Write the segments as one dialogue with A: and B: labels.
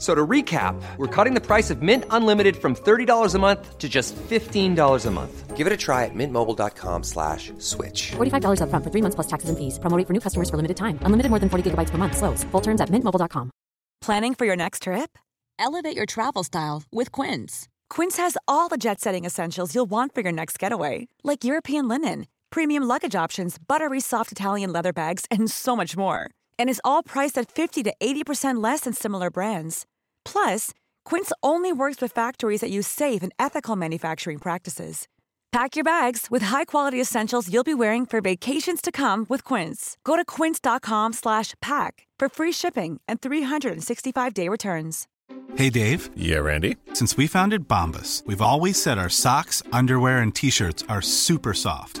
A: So to recap, we're cutting the price of Mint Unlimited from $30 a month to just $15 a month. Give it a try at mintmobile.com slash switch.
B: $45 upfront for three months plus taxes and fees. Promoting for new customers for limited time. Unlimited more than 40 gigabytes per month. Slows. Full terms at mintmobile.com.
C: Planning for your next trip?
D: Elevate your travel style with Quince.
C: Quince has all the jet setting essentials you'll want for your next getaway, like European linen, premium luggage options, buttery soft Italian leather bags, and so much more. And is all priced at 50 to 80% less than similar brands. Plus, Quince only works with factories that use safe and ethical manufacturing practices. Pack your bags with high-quality essentials you'll be wearing for vacations to come with Quince. Go to quince.com slash pack for free shipping and 365-day returns.
E: Hey Dave,
F: Yeah, Randy.
E: since we founded Bombus, we've always said our socks, underwear, and t shirts are super soft.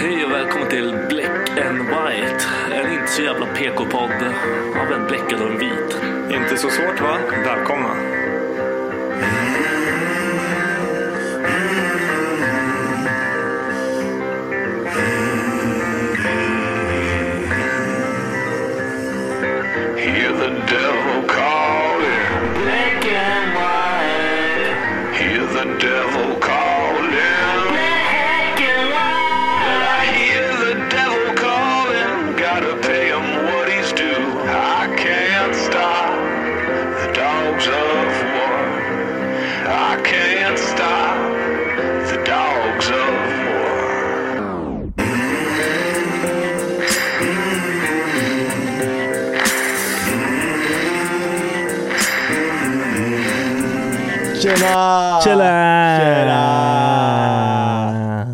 G: Hej och välkommen till Black and White. En inte så jävla PK-podd av en bläckad och en vit.
H: Inte så svårt va? Välkomna.
I: Hear the devil calling. Black and white. Hear the devil calling. Black and white. I hear the devil calling. Gotta pay him what he's due. I can't stop the dogs of war. I can't stop the dogs of war.
J: Tjena!
G: Tjena!
J: Tjena! Ah.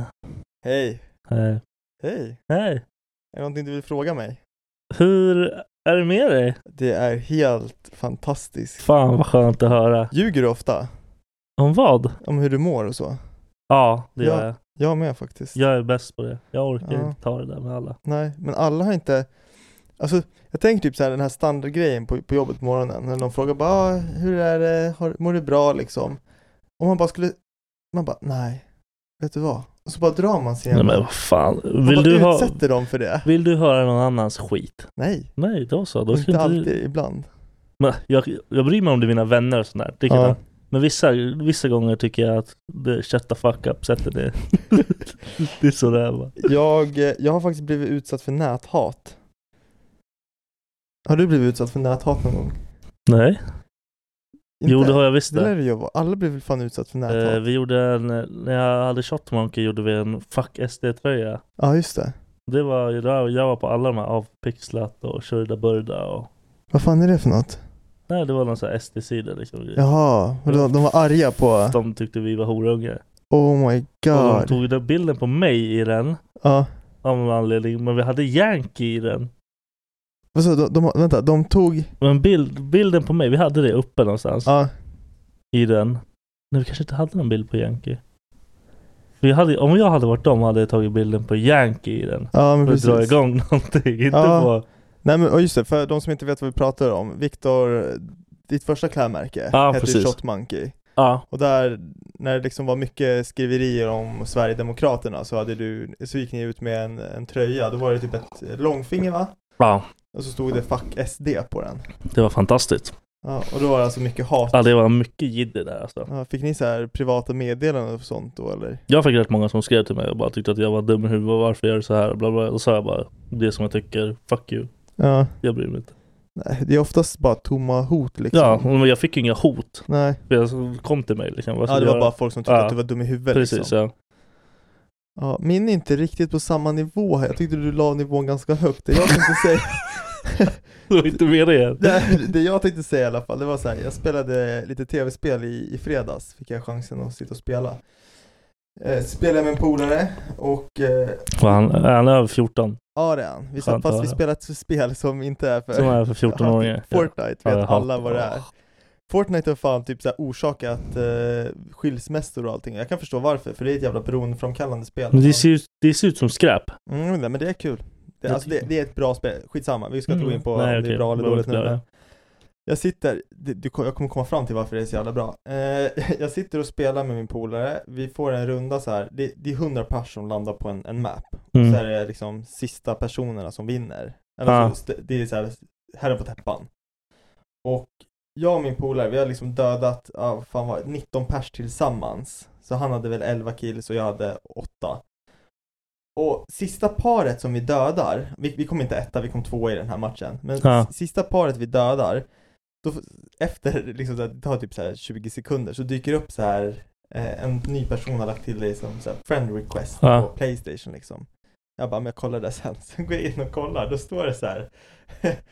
J: Hej!
G: Hej.
J: Hej! Är
G: Hej.
J: det någonting du vill fråga mig?
G: Hur är det med dig?
J: Det är helt fantastiskt.
G: Fan vad skönt att höra.
J: Ljuger du ofta?
G: Om vad?
J: Om hur du mår och så?
G: Ja, det gör
J: Ja.
G: jag.
J: Jag med faktiskt.
G: Jag är bäst på det. Jag orkar
J: Ja.
G: inte ta det där med alla.
J: Nej, men alla har inte Alltså, jag tänker typ så här den här standardgrejen på, på jobbet på morgonen när någon frågar bara ah, hur är det, har, mår du bra liksom? Om man bara skulle, man bara nej, vet du vad? Och så bara drar man sig
G: Nej
J: igen.
G: men
J: Man
G: vad fan. Vill du,
J: bara
G: ha,
J: utsätter dem för det.
G: vill du höra någon annans skit?
J: Nej,
G: Nej, då så. Då ska
J: inte
G: inte du-
J: alltid, ibland.
G: Men jag, jag bryr mig om det är mina vänner och sånt där. Det kan
J: Ja.
G: jag. Men vissa, vissa gånger tycker jag att det shut the fuck up sättet är... det är sådär va.
J: Jag, eh, jag har faktiskt blivit utsatt för näthat. Har du blivit utsatt för näthat någon gång?
G: Nej. Jo
J: Inte?
G: det har jag visst
J: Det lär
G: det.
J: du ju vara. Alla blir väl fan utsatt för näthat?
G: Eh, vi gjorde en, när jag hade Shotmonkey gjorde vi en Fuck SD-tröja.
J: Ja, just det.
G: Det var, ju där jag var på alla de här avpixlat och Shurda Burda och...
J: Vad fan är det för något?
G: Nej det var någon sån här SD-sida liksom. grej.
J: Jaha, och de, de var arga på...
G: De tyckte vi var horungar.
J: Oh my
G: Och de
J: god.
G: tog den bilden på mig i den.
J: Ja.
G: Av någon anledning. Men vi hade Yankee i den.
J: Vad sa du? de, de, vänta, de tog...
G: Men bild, bilden på mig, vi hade det uppe någonstans.
J: Ja,
G: i den. Nej, vi kanske inte hade någon bild på Yankee. Vi hade, om jag hade varit dem hade jag tagit bilden på Yankee i den.
J: ja men
G: För att dra
J: precis.
G: igång någonting. Inte
J: Ja.
G: på...
J: Nej men och just det, för de som inte vet vad vi pratar om. Viktor, ditt första klädmärke
G: Ja,
J: hette ju
G: precis.
J: Shot Monkey.
G: Ja,
J: Och där, när det liksom var mycket skriverier om Sverigedemokraterna så, hade du, så gick ni ut med en, en tröja, då var det typ ett eh, långfinger va?
G: ja,
J: Och så stod det 'Fuck SD' på den.
G: det var fantastiskt.
J: Ja, och då var det alltså mycket hat.
G: Ja, det var mycket jidder där alltså.
J: Ja, fick ni så här privata meddelanden och sånt då eller?
G: Jag fick rätt många som skrev till mig och bara tyckte att jag var dum i huvudet. Varför gör du så här? Bla bla. Och så sa jag bara det som jag tycker. Fuck you.
J: Ja.
G: Jag bryr mig inte.
J: Nej, det är oftast bara tomma hot liksom.
G: Ja, men jag fick ju inga hot.
J: Nej.
G: För jag kom till mig liksom. Vad
J: Ja,
G: ska
J: det
G: jag
J: var
G: göra?
J: bara folk som tyckte att du var dum i huvudet,
G: Precis,
J: liksom.
G: ja.
J: Ja, min är inte riktigt på samma nivå här. Jag tyckte du la nivån ganska högt. Det jag tänkte säga...
G: det var inte mer det.
J: Det, det jag tänkte säga i alla fall, det var så här, jag spelade lite tv-spel i, i fredags, fick jag chansen att sitta och spela. Eh, spelade med en polare och... Eh,
G: Fan, är han över 14?
J: ja det är han. Vi satt
G: Skönt
J: fast
G: att
J: vi
G: höra.
J: spelade ett spel som inte är för...
G: Som är för 14-åringar.
J: Ja, Fortnite,
G: Ja, jag
J: vet alla
G: hatar-
J: vad det är. Fortnite har fan typ så här orsakat eh, skilsmässor och allting. Jag kan förstå varför, för det är ett jävla beroendeframkallande spel.
G: Men det ser, ut- det ser ut som skräp.
J: Mm, nej, men det är kul. Det,
G: Jag
J: alltså, det, det är ett bra spel, skitsamma, vi ska inte gå
G: Mm.
J: in på
G: Nej,
J: om det
G: okej.
J: är bra eller
G: Behöver
J: dåligt nu.
G: inte göra
J: men
G: det.
J: Jag sitter, det, du, jag kommer komma fram till varför det är så jävla bra. Eh, jag sitter och spelar med min polare, vi får en runda så här. Det, det är 100 pers som landar på en, en map.
G: Mm.
J: Och så är det liksom sista personerna som vinner. Eller
G: Ah.
J: så, det är så här, herren på täppan. Och jag och min polare, vi har liksom dödat, ah, vad fan var det, 19 pers tillsammans. Så han hade väl 11 kills och jag hade 8. Och sista paret som vi dödar, vi, vi kom inte etta, vi kom två i den här matchen. Men
G: Ja.
J: s- sista paret vi dödar, då, f- efter liksom så här, det tar typ så här 20 sekunder så dyker det upp så här eh, en ny person har lagt till dig som så här, friend request
G: Ja.
J: på Playstation liksom. Jag bara, men jag kollar det sen. Sen går jag in och kollar, då står det så här.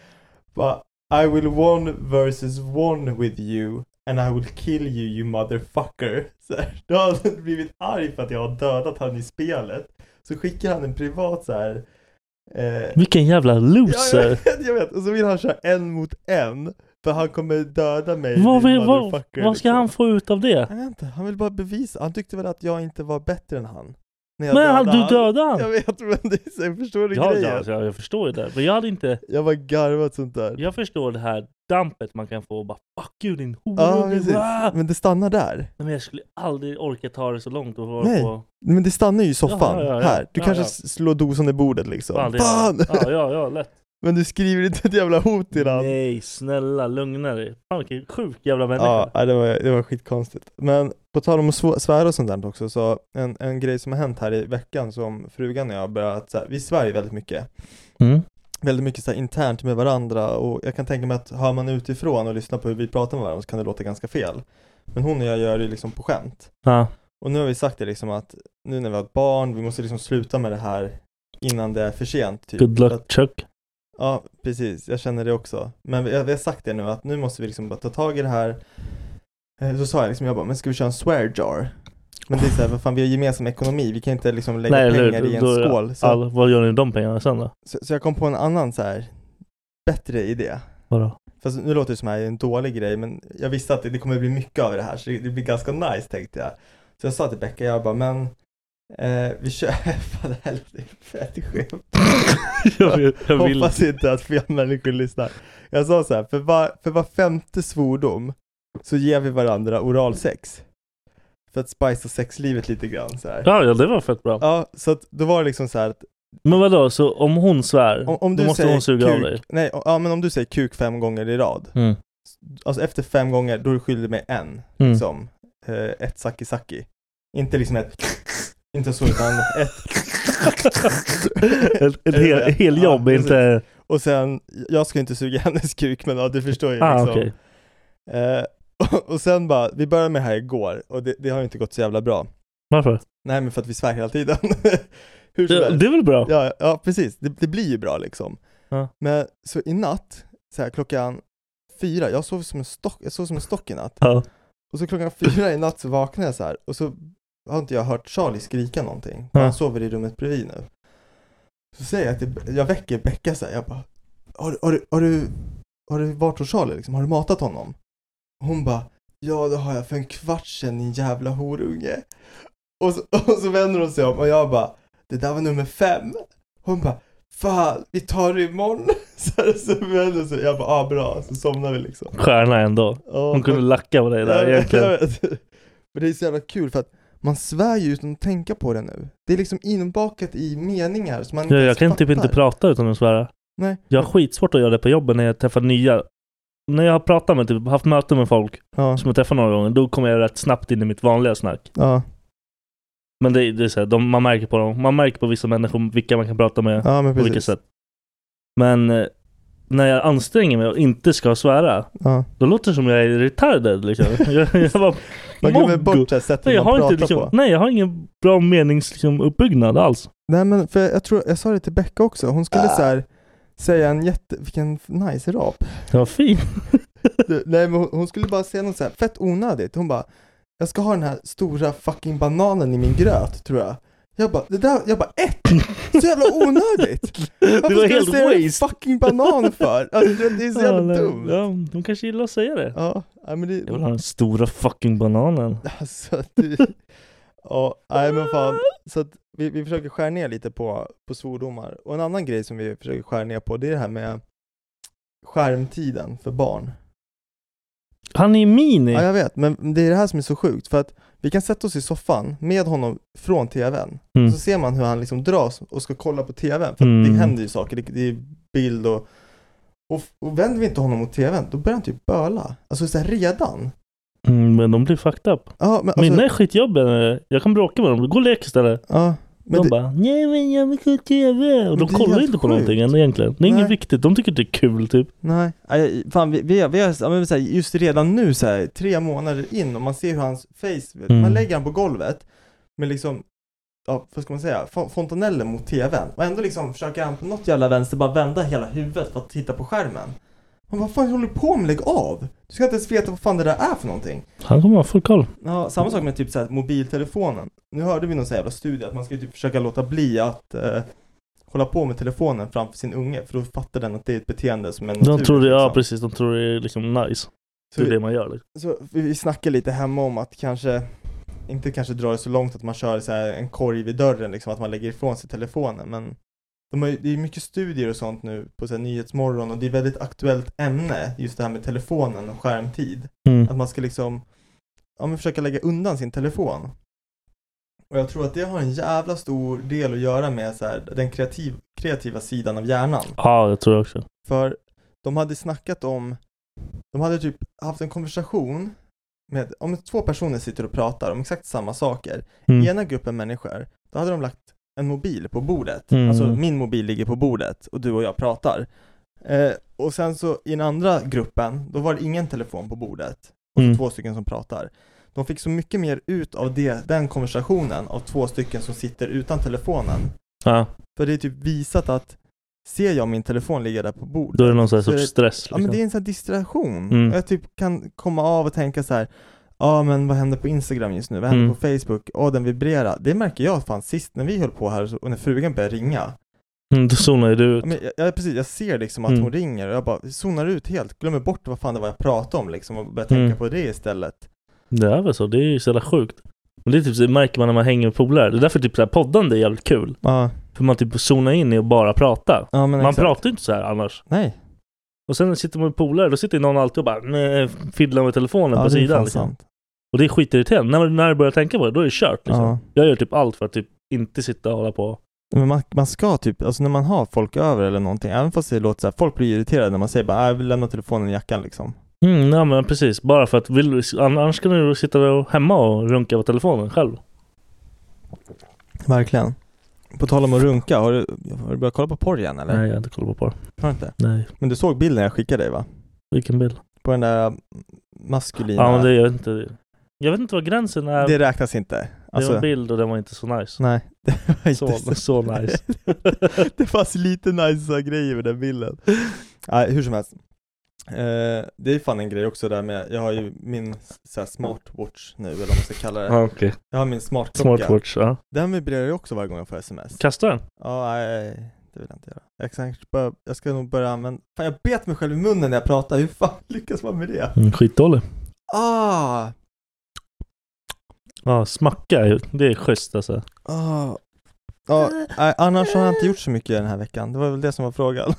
J: bara, I will one versus one with you and I will kill you you motherfucker. Så här, då har han blivit arg för att jag har dödat han i spelet. Så skickar han en privat så här. Eh,
G: Vilken jävla
J: Ja, jag,
G: loser.
J: vet, jag vet, och så vill han köra en mot en. För han kommer döda mig.
G: Vad,
J: din
G: vill, vad,
J: motherfucker,
G: vad ska
J: liksom.
G: han få ut av det?
J: Jag vet inte, han vill bara bevisa. Han tyckte väl att jag inte var bättre än han. När jag
G: Men han,
J: dödade
G: du dödade han!
J: Jag vet, men det är så, jag förstår du
G: Ja,
J: grejen?
G: ja, ja, jag förstår ju det. Men jag hade inte...
J: Jag var garvat sånt där.
G: Jag förstår det här dampet man kan få och bara 'Fuck you din hora'
J: Ja,
G: du,
J: precis.
G: va?"
J: Men det stannar där.
G: Nej, men jag skulle aldrig orka ta det så långt och vara
J: Nej.
G: på...
J: Men det stannar ju i soffan,
G: Ja, ja, ja, ja.
J: här. Du
G: Ja,
J: kanske
G: ja.
J: s- slår dosan i bordet liksom.
G: Aldrig
J: Fan!
G: Ja, ja, ja, lätt.
J: Men du skriver inte ett jävla hot till han.
G: Nej, snälla lugna dig. Fan vilken sjuk jävla människa.
J: Ja, nej, det var, det var skitkonstigt. Men på tal om att sv- svära och sånt där också, så en, en grej som har hänt här i veckan som frugan och jag har börjat, så här, vi svär ju väldigt mycket.
G: Mm.
J: väldigt mycket så här internt med varandra och jag kan tänka mig att hör man utifrån och lyssnar på hur vi pratar med varandra så kan det låta ganska fel. Men hon och jag gör det liksom på skämt.
G: Ja.
J: Och nu har vi sagt det liksom att nu när vi har ett barn, vi måste liksom sluta med det här innan det är för sent. Typ.
G: Good
J: För Att,
G: luck Chuck.
J: ja, precis. Jag känner det också. Men vi, vi har sagt det nu att nu måste vi liksom bara ta tag i det här. Eh, Så sa jag liksom, jag bara, men ska vi köra en swear jar? Men det är så här, vad fan, vi har gemensam ekonomi, vi kan inte liksom lägga
G: eller hur?
J: pengar i en
G: Då-
J: skål. Så,
G: All, vad gör ni med de pengarna sen då?
J: så, så jag kom på en annan så här bättre idé.
G: Vadå?
J: Fast nu låter det som att det här är en dålig grej men jag visste att det, det kommer bli mycket av det här så det, det blir ganska nice tänkte jag. Så jag sa till Becka, jag bara men eh, vi kör, fan helvete, det är fett skämt.
G: Jag vill- jag vill-
J: Hoppas inte att fler människor lyssnar. Jag sa så här, för var, för var femte svordom så ger vi varandra oralsex. För att spicea sexlivet lite grann så här.
G: Ja, ja, det var fett bra.
J: Ja, så att då var det liksom så här att
G: Men vadå, så om hon svär,
J: om, om
G: då
J: du
G: måste
J: säger
G: hon suga
J: kuk,
G: av dig?
J: nej, ja men om du säger kuk fem gånger i rad.
G: Mm.
J: Alltså efter fem gånger, då är du skyldig mig en.
G: Mm.
J: Liksom, eh, ett saki-saki. Inte liksom ett... inte så, utan ett...
G: ett ett hel, hel jobb,
J: Ja,
G: inte...
J: Och sen, jag ska inte suga hennes kuk, men ja, du förstår ju
G: Ah,
J: liksom.
G: okej.
J: Eh, och, och sen bara, vi började med det här igår och det, det har ju inte gått så jävla bra.
G: Varför?
J: Nej, men för att vi svär hela tiden. Hur som
G: Det,
J: helst.
G: det är väl bra?
J: Ja, ja precis. Det, det blir ju bra liksom.
G: Ja.
J: Men så i natt, så här, klockan fyra, jag sov som en stock, jag sov som en stock i natt.
G: Ja.
J: Och så klockan fyra i natt så vaknade jag så här och så har inte jag hört Charlie skrika någonting.
G: Ja.
J: Han sover i rummet bredvid nu. Så säger jag att det, jag väcker Becka så här, jag bara har, du- har, du- har, du, har du varit hos Charlie liksom? Har du matat honom? Hon bara Ja det har jag för en kvart sedan din jävla horunge. Och så, och så vänder hon sig om och jag bara Det där var nummer fem. Hon bara Fan, vi tar det imorgon. Så, här, så vänder hon sig jag bara ah, bra, så somnar vi liksom.
G: Stjärna ändå.
J: Ja,
G: Hon kunde
J: men-
G: lacka på dig
J: jag
G: där
J: vet, jag
G: egentligen.
J: vet. Men det är så jävla kul för att man svär ju utan att tänka på det nu. Det är liksom inbakat i meningar som man
G: Ja, jag
J: ens
G: kan typ
J: fattar.
G: inte prata utan att svära.
J: Nej.
G: Jag har skitsvårt att göra det på jobbet när jag träffar nya. När jag har pratat med, typ haft möten med folk
J: Ja,
G: som jag träffar några gånger, då kommer jag rätt snabbt in i mitt vanliga snack.
J: ja,
G: Men det, är- det är så här, de, man märker på dem. Man märker på vissa människor vilka man kan prata med
J: ja men
G: på vilket
J: precis.
G: sätt. Men eh, när jag anstränger mig och inte ska svära,
J: Ja.
G: då låter det som jag är retarded liksom. jag, jag bara,
J: Man glömmer
G: mongo.
J: bort det här sättet
G: nej, jag
J: man
G: har inte,
J: pratar
G: liksom,
J: på.
G: nej, jag har ingen bra menings, liksom, uppbyggnad alls.
J: Nej men för jag tror, jag sa det till Becka också, hon skulle så här säga en jätte, vilken nice rap.
G: Det var fint.
J: Du, nej men hon, hon skulle bara säga något så här fett onödigt, hon bara Jag ska ha den här stora fucking bananen i min gröt tror jag. Jag bara, det där, jag bara ett! Så jävla onödigt! Varför
G: var
J: ska
G: helt
J: du säga en
G: waste.
J: fucking banan för? Alltså, det är så
G: Ja,
J: jävla
G: nej.
J: dumt.
G: Ja, de kanske gillar att säga det.
J: Ja, nej, men det,
G: Jag vill ha den stora fucking bananen.
J: Alltså, du... Ja, nej men fan. Så att vi, vi försöker skära ner lite på, på svordomar. Och en annan grej som vi försöker skära ner på, det är det här med skärmtiden för barn.
G: Han är mini!
J: Ja, jag vet, men det är det här som är så sjukt. För att vi kan sätta oss i soffan med honom från tvn.
G: Mm.
J: Så ser man hur han liksom dras och ska kolla på tvn. För att
G: Mm.
J: det händer ju saker, det, det är bild och... Och, och vänder vi inte honom mot tvn, då börjar han typ böla. Alltså så här redan.
G: Mm, men de blir fucked up.
J: Ja, men alltså...
G: Mina är skitjobbiga. när- Jag kan bråka med dem. Gå och lek istället.
J: Ja, men
G: de
J: det-
G: bara Nej men jag vill kolla TV. Och
J: Men
G: de
J: det är
G: kollar
J: helt
G: inte på
J: sjukt.
G: någonting än egentligen. Det är inget
J: Nej.
G: viktigt. De tycker det är kul typ.
J: Nej, aj, fan vi, vi, har- vi har, ja, men så här, just redan nu så här, tre månader in och man ser hur hans face,
G: Mm.
J: man lägger han på golvet med liksom, ja vad ska man säga, fo- fontanellen mot tvn och ändå liksom försöker han på något jävla vänster bara vända hela huvudet för att titta på skärmen. Man bara, vad fan håller du på med? Lägg av! Du ska inte ens veta vad fan det där är för någonting.
G: Han kommer ha full koll.
J: Ja, samma sak med typ så här, mobiltelefonen. Nu hörde vi någon så här jävla studie att man ska typ försöka låta bli att eh, hålla på med telefonen framför sin unge för då fattar den att det är ett beteende som är
G: De
J: naturligt.
G: tror det, ja
J: liksom.
G: precis. De tror det är liksom nice.
J: Så
G: Det är
J: vi-
G: det man gör. Liksom.
J: Så vi vi snackar lite hemma om att kanske inte kanske dra det så långt att man kör så här en korg vid dörren liksom, att man lägger ifrån sig telefonen men de har, ju- det är mycket studier och sånt nu på så här, Nyhetsmorgon och det är väldigt aktuellt ämne just det här med telefonen och skärmtid.
G: Mm.
J: Att man ska liksom ja, men försöka lägga undan sin telefon. Och jag tror att det har en jävla stor del att göra med så här, den kreativ, kreativa sidan av hjärnan.
G: Ja, jag tror det också.
J: För de hade snackat om, de hade typ haft en konversation med, om två personer sitter och pratar om exakt samma saker.
G: Mm.
J: I ena gruppen människor, då hade de lagt en mobil på bordet.
G: Mm.
J: Alltså min mobil ligger på bordet och du och jag pratar. Eh, och sen så i den andra gruppen, då var det ingen telefon på bordet. Och så
G: Mm.
J: två stycken som pratar. De fick så mycket mer ut av det, den konversationen av två stycken som sitter utan telefonen.
G: Ja,
J: För det är typ visat att ser jag min telefon ligga där på bordet
G: då är det någon sån här
J: Så är
G: sorts
J: det-
G: stress.
J: Ja men det är
G: liksom.
J: en sån här distraktion.
G: Mm.
J: Jag typ kan komma av och tänka så här. Ja men vad händer på Instagram just nu? Vad händer
G: Mm.
J: på Facebook? Åh den vibrerar. Det märker jag fan sist när vi höll på här så- och när frugan började ringa.
G: Mm, Då zonar ju du ut.
J: Ja, men jag, jag, precis, jag ser liksom att
G: Mm.
J: hon ringer och jag bara zonar ut helt, glömmer bort vad fan det var jag pratade om liksom och börjar tänka
G: Mm.
J: på det istället.
G: Det är väl så. Det är ju så jävla sjukt. Men det är typ, så- det märker man när man hänger med polare. Det är därför typ så här poddande är jävligt kul.
J: Ja,
G: För man typ zonar in i att bara prata.
J: ja men
G: Man
J: exakt.
G: pratar ju inte så här annars.
J: Nej.
G: Och sen sitter man med polare, då sitter någon alltid och bara nej, fiddlar med telefonen
J: Ja, det
G: på
J: är
G: sidan.
J: fan
G: Liksom.
J: sant.
G: Och det är skitirriterande. När, när du börjar tänka på det, då är det kört. Liksom.
J: Ja.
G: Jag gör typ allt för att typ inte sitta och hålla på.
J: Men man, man ska typ, alltså när man har folk över eller någonting, även fast det låter så här, folk blir irriterade när man säger bara "Ah, jag vill lämna telefonen i jackan liksom.
G: Mm, nej men precis, bara för att vill, du- an- annars kan du sitta där och- hemma och runka på telefonen själv.
J: Verkligen. På tal om att runka, har du, har du börjat kolla på porr igen eller?
G: Nej, jag har inte kollat på porr.
J: Har du inte?
G: Nej,
J: Men du såg bilden jag skickade dig va?
G: vilken bild?
J: På den där maskulina...
G: Ja men det, jag vet inte. Jag vet inte vad gränsen är.
J: det
G: Det,
J: räknas inte.
G: var
J: Alltså,
G: en bild och den var inte så nice.
J: nej. Det var inte
G: Så, så nice.
J: det fanns lite nice grejer med den bilden. Nej, hur som helst. Eh, det är fan en grej också där med, jag har ju min så här, smartwatch nu eller vad man ska kalla det.
G: Ja, okej.
J: Jag har min smartklocka.
G: Smartwatch, ja.
J: Den vibrerar ju också varje gång jag får sms.
G: Kasta den.
J: Ja, nej, det vill jag inte göra. Jag, kan, säkert börja- jag ska nog börja använda... Fan, jag bet mig själv i munnen när jag pratade. Hur fan lyckas man med det?
G: Mm, skitdålig.
J: Ah!
G: Ja, smacka, är ju- det är schysst alltså.
J: ah. Ja, nej, annars har jag inte gjort så mycket den här veckan. Det var väl det som var frågan.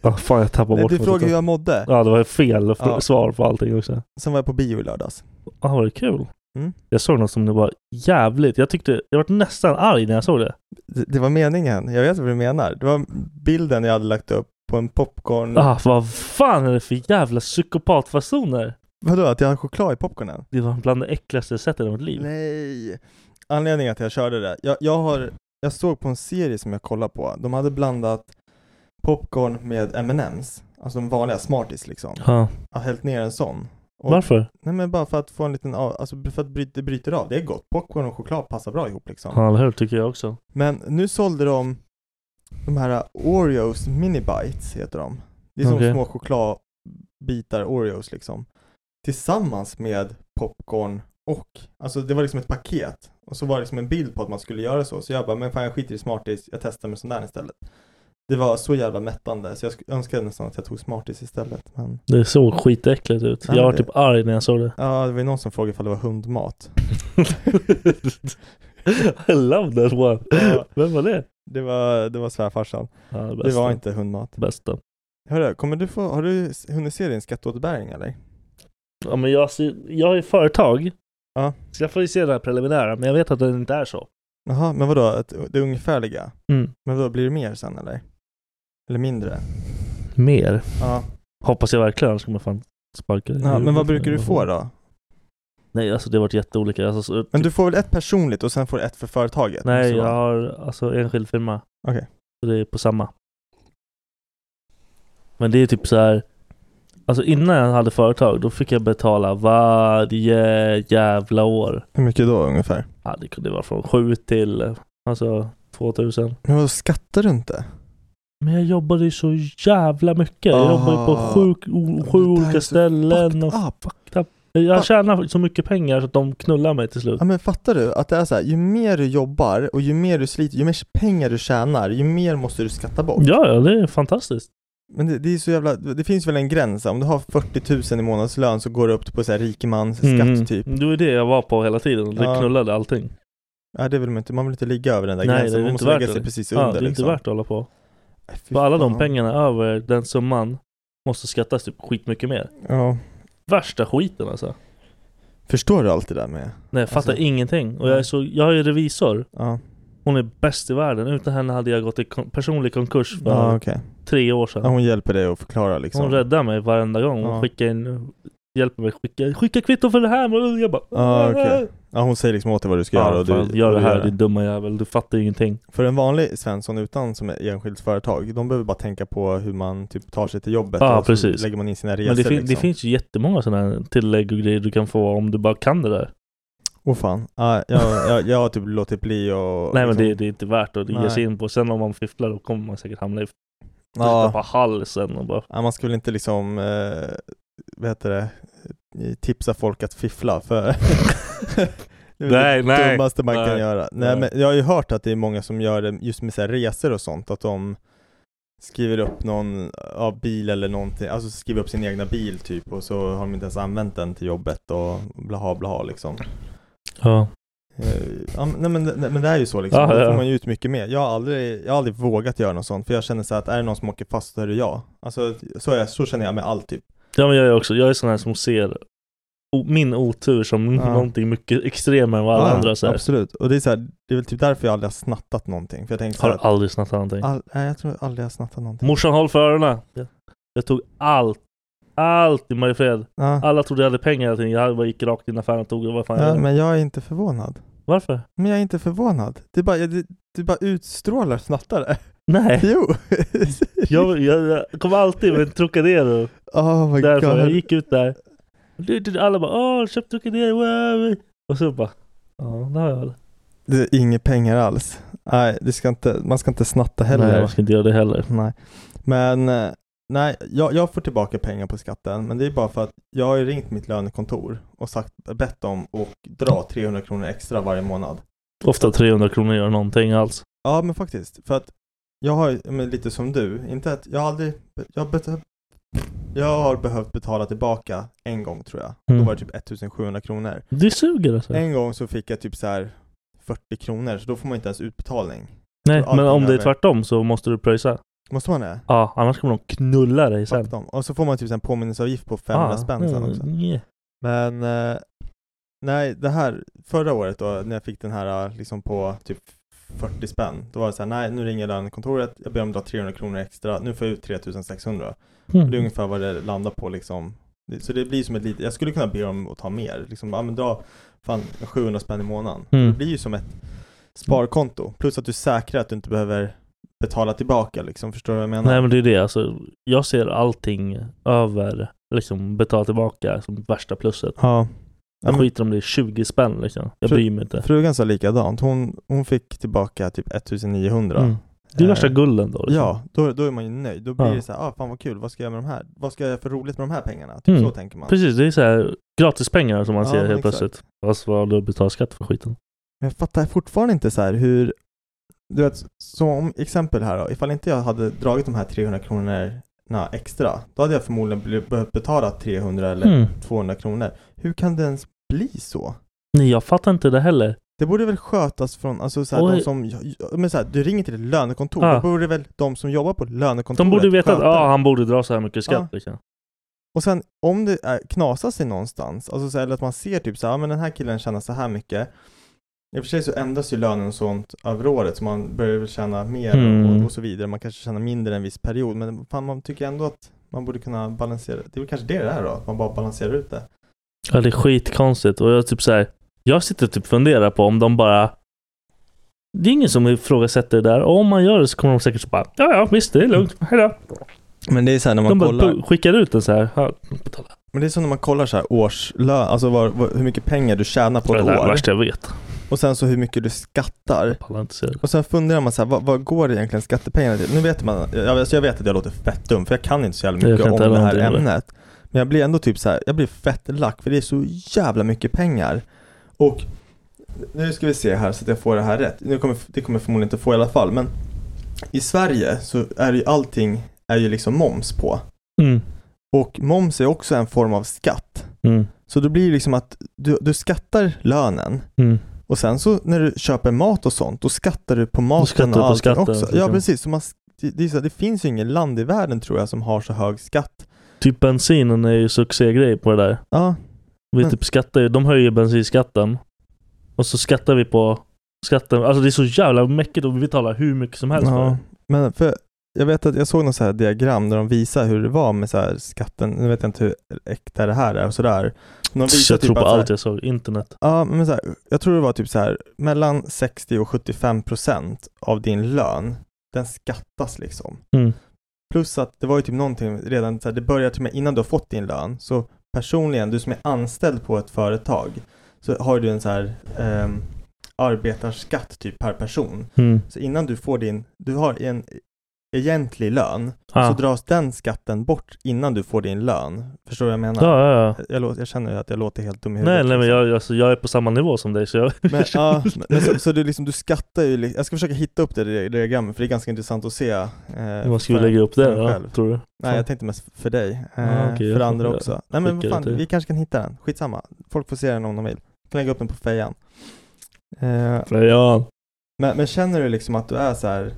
G: Ja, fan jag tappar
J: Nej,
G: bort
J: du
G: mig
J: frågade hur
G: totalt.
J: jag mådde.
G: Ja, det var fel fr-
J: Ja.
G: svar på allting också.
J: Sen var jag på bio i lördags.
G: Ja, var det Ah, kul?
J: Mm.
G: Jag såg något som det var jävligt. Jag tyckte, jag var nästan arg när jag såg det.
J: Det, det var meningen. Jag vet vad du menar. Det var bilden jag hade lagt upp på en popcorn...
G: Ah, vad fan är det för jävla psykopatfasoner?
J: Vadå, att jag har choklad i popcornen?
G: Det var bland det äckligaste jag sett i mitt liv.
J: Nej! Anledningen att jag körde det, jag, jag, har, jag såg på en serie som jag kollade på, de hade blandat popcorn med M&M's
G: Alltså de vanliga smarties liksom.
K: Ja.
G: Jag har hällt ner en sån.
K: Varför?
G: Nej men bara för att få en liten, av- alltså för att bryta, det bryter av. Det är gott. Popcorn och choklad passar bra ihop liksom.
K: Ja, eller hur? Tycker jag också.
G: Men nu sålde de de här Oreos mini bites heter de. Det är som
K: Okej.
G: små chokladbitar Oreos liksom. Tillsammans med popcorn och, alltså det var liksom ett paket. Och så var det liksom en bild på att man skulle göra så. Så jag bara, men fan jag skiter i Smarties, jag testar med sån där istället. Det var så jävla mättande så jag sk- önskade nästan att jag tog Smarties istället. Men
K: Det såg skitäckligt ut.
G: Nej,
K: jag var
G: det-
K: typ arg när jag såg det.
G: ja, det var ju någon som frågade ifall det var hundmat.
K: I love that one. Vem var det?
G: Det var, det var svärfarsan.
K: Ja, det,
G: Det var
K: bästa.
G: inte hundmat.
K: Bästa.
J: Eh,
G: Hörru, kommer du få, har du s- hunnit se din skatteåterbäring eller?
K: Ja, men jag, ser, jag är företag.
G: Ja.
K: Så jag får ju se den här preliminära, men jag vet att den inte är så.
G: Jaha, men vadå, att det är ungefärliga?
K: Mm.
G: Men vadå, blir det mer sen eller? Eller mindre?
K: Mer.
G: Ja.
K: Hoppas jag verkligen, annars kommer jag fan sparka dig i
G: ja men vad
K: huvudet.
G: brukar du få då?
K: Nej, alltså det har varit jätteolika. Alltså, så,
G: Men du får väl ett personligt och sen får du ett för företaget?
K: Nej,
G: Så-
K: jag har alltså enskild firma.
G: Okej.
K: Så det är på samma. Men det är typ så här. Alltså innan jag hade företag, då fick jag betala varje jävla år.
G: Hur mycket då ungefär?
K: Ja, det kunde vara från 7 till alltså 2000.
G: Men vadå, skattar du inte?
K: Men jag jobbade ju så jävla mycket. Jag jobbade ju på
G: Ah.
K: sjuk, o, sju olika ställen. Och
G: Ah, fuck.
K: jag tjänade så mycket pengar så att de knullar mig till slut.
G: Ja men fattar du att det är så här, ju mer du jobbar och ju mer du sliter, ju mer pengar du tjänar, ju mer måste du skatta bort.
K: Ja, ja, det är fantastiskt.
G: Men det, det är så jävla, det finns väl en gräns, om du har 40 000 i månadslön så går det upp på så här rikemans skatt typ.
K: Mm. Det var det jag var på hela tiden. Det
G: Ja.
K: knullade allting.
G: Ja det vill man inte, man vill inte ligga över den där
K: Nej, det
G: gränsen,
K: är
G: man
K: inte
G: måste
K: värt
G: lägga
K: det.
G: sig precis
K: Ja,
G: under
K: det är inte
G: liksom.
K: värt att hålla på.
G: Nej, fy
K: För alla de
G: fan.
K: pengarna över den summan måste skattas typ skitmycket mer.
G: Ja.
K: Värsta skiten alltså.
G: Förstår du allt det där med?
K: Nej, jag fattar
G: Alltså-
K: ingenting. Och jag är så, jag har ju revisor.
G: Ja.
K: Hon är bäst i världen. Utan henne hade jag gått i kon- personlig konkurs för
G: Ja, okej.
K: tre år sedan.
G: Ja, hon hjälper dig att förklara liksom.
K: Hon räddar mig varenda gång. Hon
G: Ja.
K: skickar in, hjälper mig skicka, skicka kvitto för det här. men Jag bara...
G: Ja, Ah, okej. Ja, hon säger liksom åt dig vad du ska göra och
K: fan,
G: du
K: gör
G: och
K: det
G: du
K: här
G: gör det.
K: din dumma jävel. Du fattar ingenting.
G: För en vanlig Svensson utan som är enskilt företag, de behöver bara tänka på hur man typ tar sig till jobbet
K: Ja,
G: och så
K: precis.
G: lägger man in sina resor
K: Men det, fin-
G: liksom.
K: det finns ju jättemånga sådana här tillägg och grejer du kan få om du bara kan det där.
G: Åh fan, ja, jag, jag, jag har typ låtit bli och
K: Nej men
G: liksom-
K: det, det är inte värt att ge
G: Nej.
K: sig in på. Sen om man fifflar då kommer man säkert hamna i
G: Ja.
K: på halsen och bara
G: Ja, man ska väl inte liksom, eh, vad heter det, eh, tipsa folk att fiffla för det är väl
K: Nej,
G: det
K: nej.
G: dummaste man kan
K: Nej.
G: göra.
K: Nej.
G: Nej, men jag har ju hört att det är många som gör det just med så här resor och sånt, att de skriver upp någon ja, bil eller någonting, alltså skriver upp sin egna bil typ och så har de inte ens använt den till jobbet och blaha blaha liksom.
K: Ja.
G: Eh, Ja, men- nej, men, nej, men det är ju så liksom,
K: Ja,
G: då
K: ja.
G: får man ju ut mycket mer. Jag har, aldrig, jag har aldrig vågat göra något sånt, för jag känner så här att är det någon som åker fast så är det jag. Alltså så, är jag, så känner jag med allt typ.
K: Ja men jag är också, jag är sån här som ser o- min otur som
G: Ja.
K: någonting mycket extremare än vad alla
G: Ja,
K: andra så här.
G: Absolut, och det är så här, det är väl typ därför jag aldrig har snattat någonting. För jag tänker så
K: Har
G: här,
K: aldrig snattat någonting.
G: all, nej, jag tror aldrig jag har snattat någonting.
K: Morsan håll för öronen. Jag, jag tog allt. Allt i Mariefred.
G: Ja.
K: Alla trodde jag hade pengar och allting. Jag bara gick rakt in i affären och tog det. Vad fan jag
G: Ja,
K: ville.
G: men jag är inte förvånad.
K: Varför?
G: Men jag är inte förvånad. Du bara, det, det bara utstrålar snattare.
K: Nej.
G: Jo!
K: Jag, jag, jag kom alltid med en Trocadero.
G: oh my
K: Därför
G: god.
K: jag gick ut där. Du- du- Alla bara åh, köp Trocadero. wow." Och så bara ja, det har jag väl.
G: Det är inga pengar alls. Nej, det ska inte, man ska inte snatta heller.
K: Nej, jag ska inte göra det heller.
G: Nej, men eh, nej, jag, jag får tillbaka pengar på skatten, men det är bara för att jag har ju ringt mitt lönekontor och sagt, bett dem att dra 300 kronor extra varje månad.
K: Ofta 300 kronor gör någonting alltså. alls.
G: Ja, men faktiskt, för att jag har ju, men lite som du, inte att jag har aldrig, jag, bet- jag har behövt betala tillbaka en gång tror jag.
K: Mm.
G: Då var det typ 1700 kronor.
K: Det suger alltså.
G: En gång så fick jag typ så här 40 kronor, så då får man inte ens utbetalning.
K: Nej,
G: allting
K: men om det är
G: över.
K: tvärtom så måste du pröjsa.
G: Måste man det?
K: Ja, annars kommer de knulla dig sen. Ah, mm,
G: Fuck dem. Och så får man typ en påminnelseavgift på 500 spänn sen också.
K: nej.
G: Men eh, nej, det här förra året då när jag fick den här eh, liksom på typ 40 spänn. Då var det så här, nej nu ringer lönekontoret, jag ber om att dra 300 kronor extra, nu får jag ut 3600.
J: Hmm.
K: Mm.
G: Det är ungefär vad det landar på liksom. Det- Så det blir som ett litet, jag skulle kunna be dem att ta mer, liksom, ja men dra fan 700 spänn i månaden.
J: Hmm.
K: Mm.
G: Det blir ju som ett sparkonto, plus att du säkrar att du inte behöver betala tillbaka liksom, förstår du vad jag menar?
J: Nej men det är det, alltså, jag ser allting över, liksom betala tillbaka som värsta plusset.
G: Ja.
J: Jag
G: Ja, men-
J: skiter om det är 20 spänn liksom. Jag
G: Fru-
J: bryr mig inte.
G: Frugan sa likadant, hon, hon fick tillbaka typ 1900
J: Mm. Det är värsta
G: Eh,
J: gulden då. Liksom.
G: Ja, då, då är man ju nöjd. Då blir
J: Ja.
G: det så här, ah, fan vad kul, vad ska jag göra med de här? Vad ska jag göra för roligt med de här pengarna? Typ
J: Mm.
G: så tänker man.
J: Precis, det är så här gratispengar som man
G: Ja,
J: ser
G: men
J: helt
G: exakt.
J: plötsligt. Fast vad du betalar skatt för skiten.
G: Men jag fattar fortfarande inte så här hur, du vet, som exempel här då, ifall inte jag hade dragit de här 300 kronorna extra, då hade jag förmodligen bli- behövt betala 300 eller
J: Mm.
G: 200 kronor. Hur kan det ens bli så?
J: Nej jag fattar inte det heller.
G: Det borde väl skötas från, alltså så här,
J: Oj.
G: de som, men så här, du ringer till ett lönekontor,
J: Ja.
G: då borde väl de som jobbar på
J: De
G: lönekontoret
J: borde veta att
G: sköta Ah.
J: ah,
G: det.
J: han borde dra så här mycket skatt.
G: Ja.
J: Liksom.
G: Och sen om det är, knasar sig någonstans, alltså så, här, eller att man ser typ så här, ja men den här killen tjänar så här mycket. I och för sig så ändras ju lönen och sånt över året, så man börjar väl tjäna mer
J: Mm.
G: och, och så vidare. Man kanske tjänar mindre en viss period, men fan, man tycker ändå att man borde kunna balansera. Det är väl kanske det det är då, att man bara balanserar ut det.
J: Ja det är skitkonstigt och jag typ så här. Jag sitter och typ funderar på om de bara Det är ingen som ifrågasätter det där och om man gör det så kommer de säkert så bara Ja ja visst det är lugnt, hejdå.
G: Men det är så här när
J: De
G: man
J: bara
G: kollar.
J: pu- skickar ut en så här. "Ja, betala."
G: Men det är som när man kollar så här årslön, alltså var, var, hur mycket pengar du tjänar på
J: Det
G: ett
J: är det
G: år.
J: värsta jag vet.
G: Och sen så hur mycket du skattar.
J: Jag pallar inte se det.
G: Och sen funderar man så här, vad, vad går egentligen skattepengarna till? Nu vet man, jag, alltså jag vet att jag låter fett dum, för jag kan inte så jävla
J: Jag
G: mycket
J: kan
G: om
J: inte
G: det
J: heller
G: här
J: någonting om det.
G: ämnet. Men jag blir ändå typ så här, jag blir fett lack, för det är så jävla mycket pengar. Och nu ska vi se här så att jag får det här rätt. Nu kommer, det kommer jag förmodligen inte få i alla fall, men i Sverige så är ju allting, är ju liksom moms på.
J: Mm.
G: Och moms är också en form av skatt.
J: Mm.
G: Så det blir ju liksom att du, du skattar lönen,
J: Mm.
G: och sen så när du köper mat och sånt, då skattar du på
J: skattar
G: maten
J: du på
G: och allting
J: skatten,
G: också.
J: liksom.
G: Ja precis, så man, det, det, är så, här, det finns ju ingen land i världen tror jag som har så hög skatt.
J: Typ bensinen är ju succégrej på det där.
G: Ja,
J: Vi
G: Men-
J: typ skattar ju, de höjer bensinskatten. Och så skattar vi på skatten. Alltså det är så jävla mäckigt och vi betalar hur mycket som helst för
G: ja.
J: det.
G: men för jag vet att jag såg något så här diagram där de visar hur det var med så här skatten, nu vet jag inte hur äkta det här är och sådär. Men De
J: Så
G: visar
J: jag tror
G: typ
J: på
G: att så här-
J: allt jag såg. Internet.
G: Ja, men så här, jag tror det var typ så här mellan 60 och 75 procent av din lön, den skattas liksom.
J: Mm.
G: Plus att det var ju typ någonting redan, så här, det börjar till och med innan du har fått din lön, så personligen, du som är anställd på ett företag, så har du en så här ehm, arbetarskatt typ per person.
J: Mm.
G: Så innan du får din, du har en egentlig lön,
J: Ah.
G: så dras den skatten bort innan du får din lön. Förstår du vad jag menar?
J: Ja, ja, ja.
G: Jag, jag, lå- jag känner att jag låter helt dum i huvudet.
J: Nej, nej men
G: liksom.
J: jag, alltså, jag är på samma nivå som dig så jag...
G: Men, ja, men så, så du, liksom, du skattar ju, li- jag ska försöka hitta upp det di- diagrammet för det är ganska intressant att se. Eh,
J: Vad ska vi
G: för-
J: lägga upp
G: för
J: där
G: mig
J: då?
G: själv.
J: Tror du?
G: Nej jag tänkte mest för dig, eh,
J: Ja, okej, jag
G: för
J: får
G: andra
J: göra-
G: också. Nej men
J: skicka det
G: vad
J: till-
G: fan, vi kanske kan hitta den, skitsamma. Folk får se den om de vill. Jag kan lägga upp den på fejan. Eh,
J: Frejan.
G: men, men känner du liksom att du är så här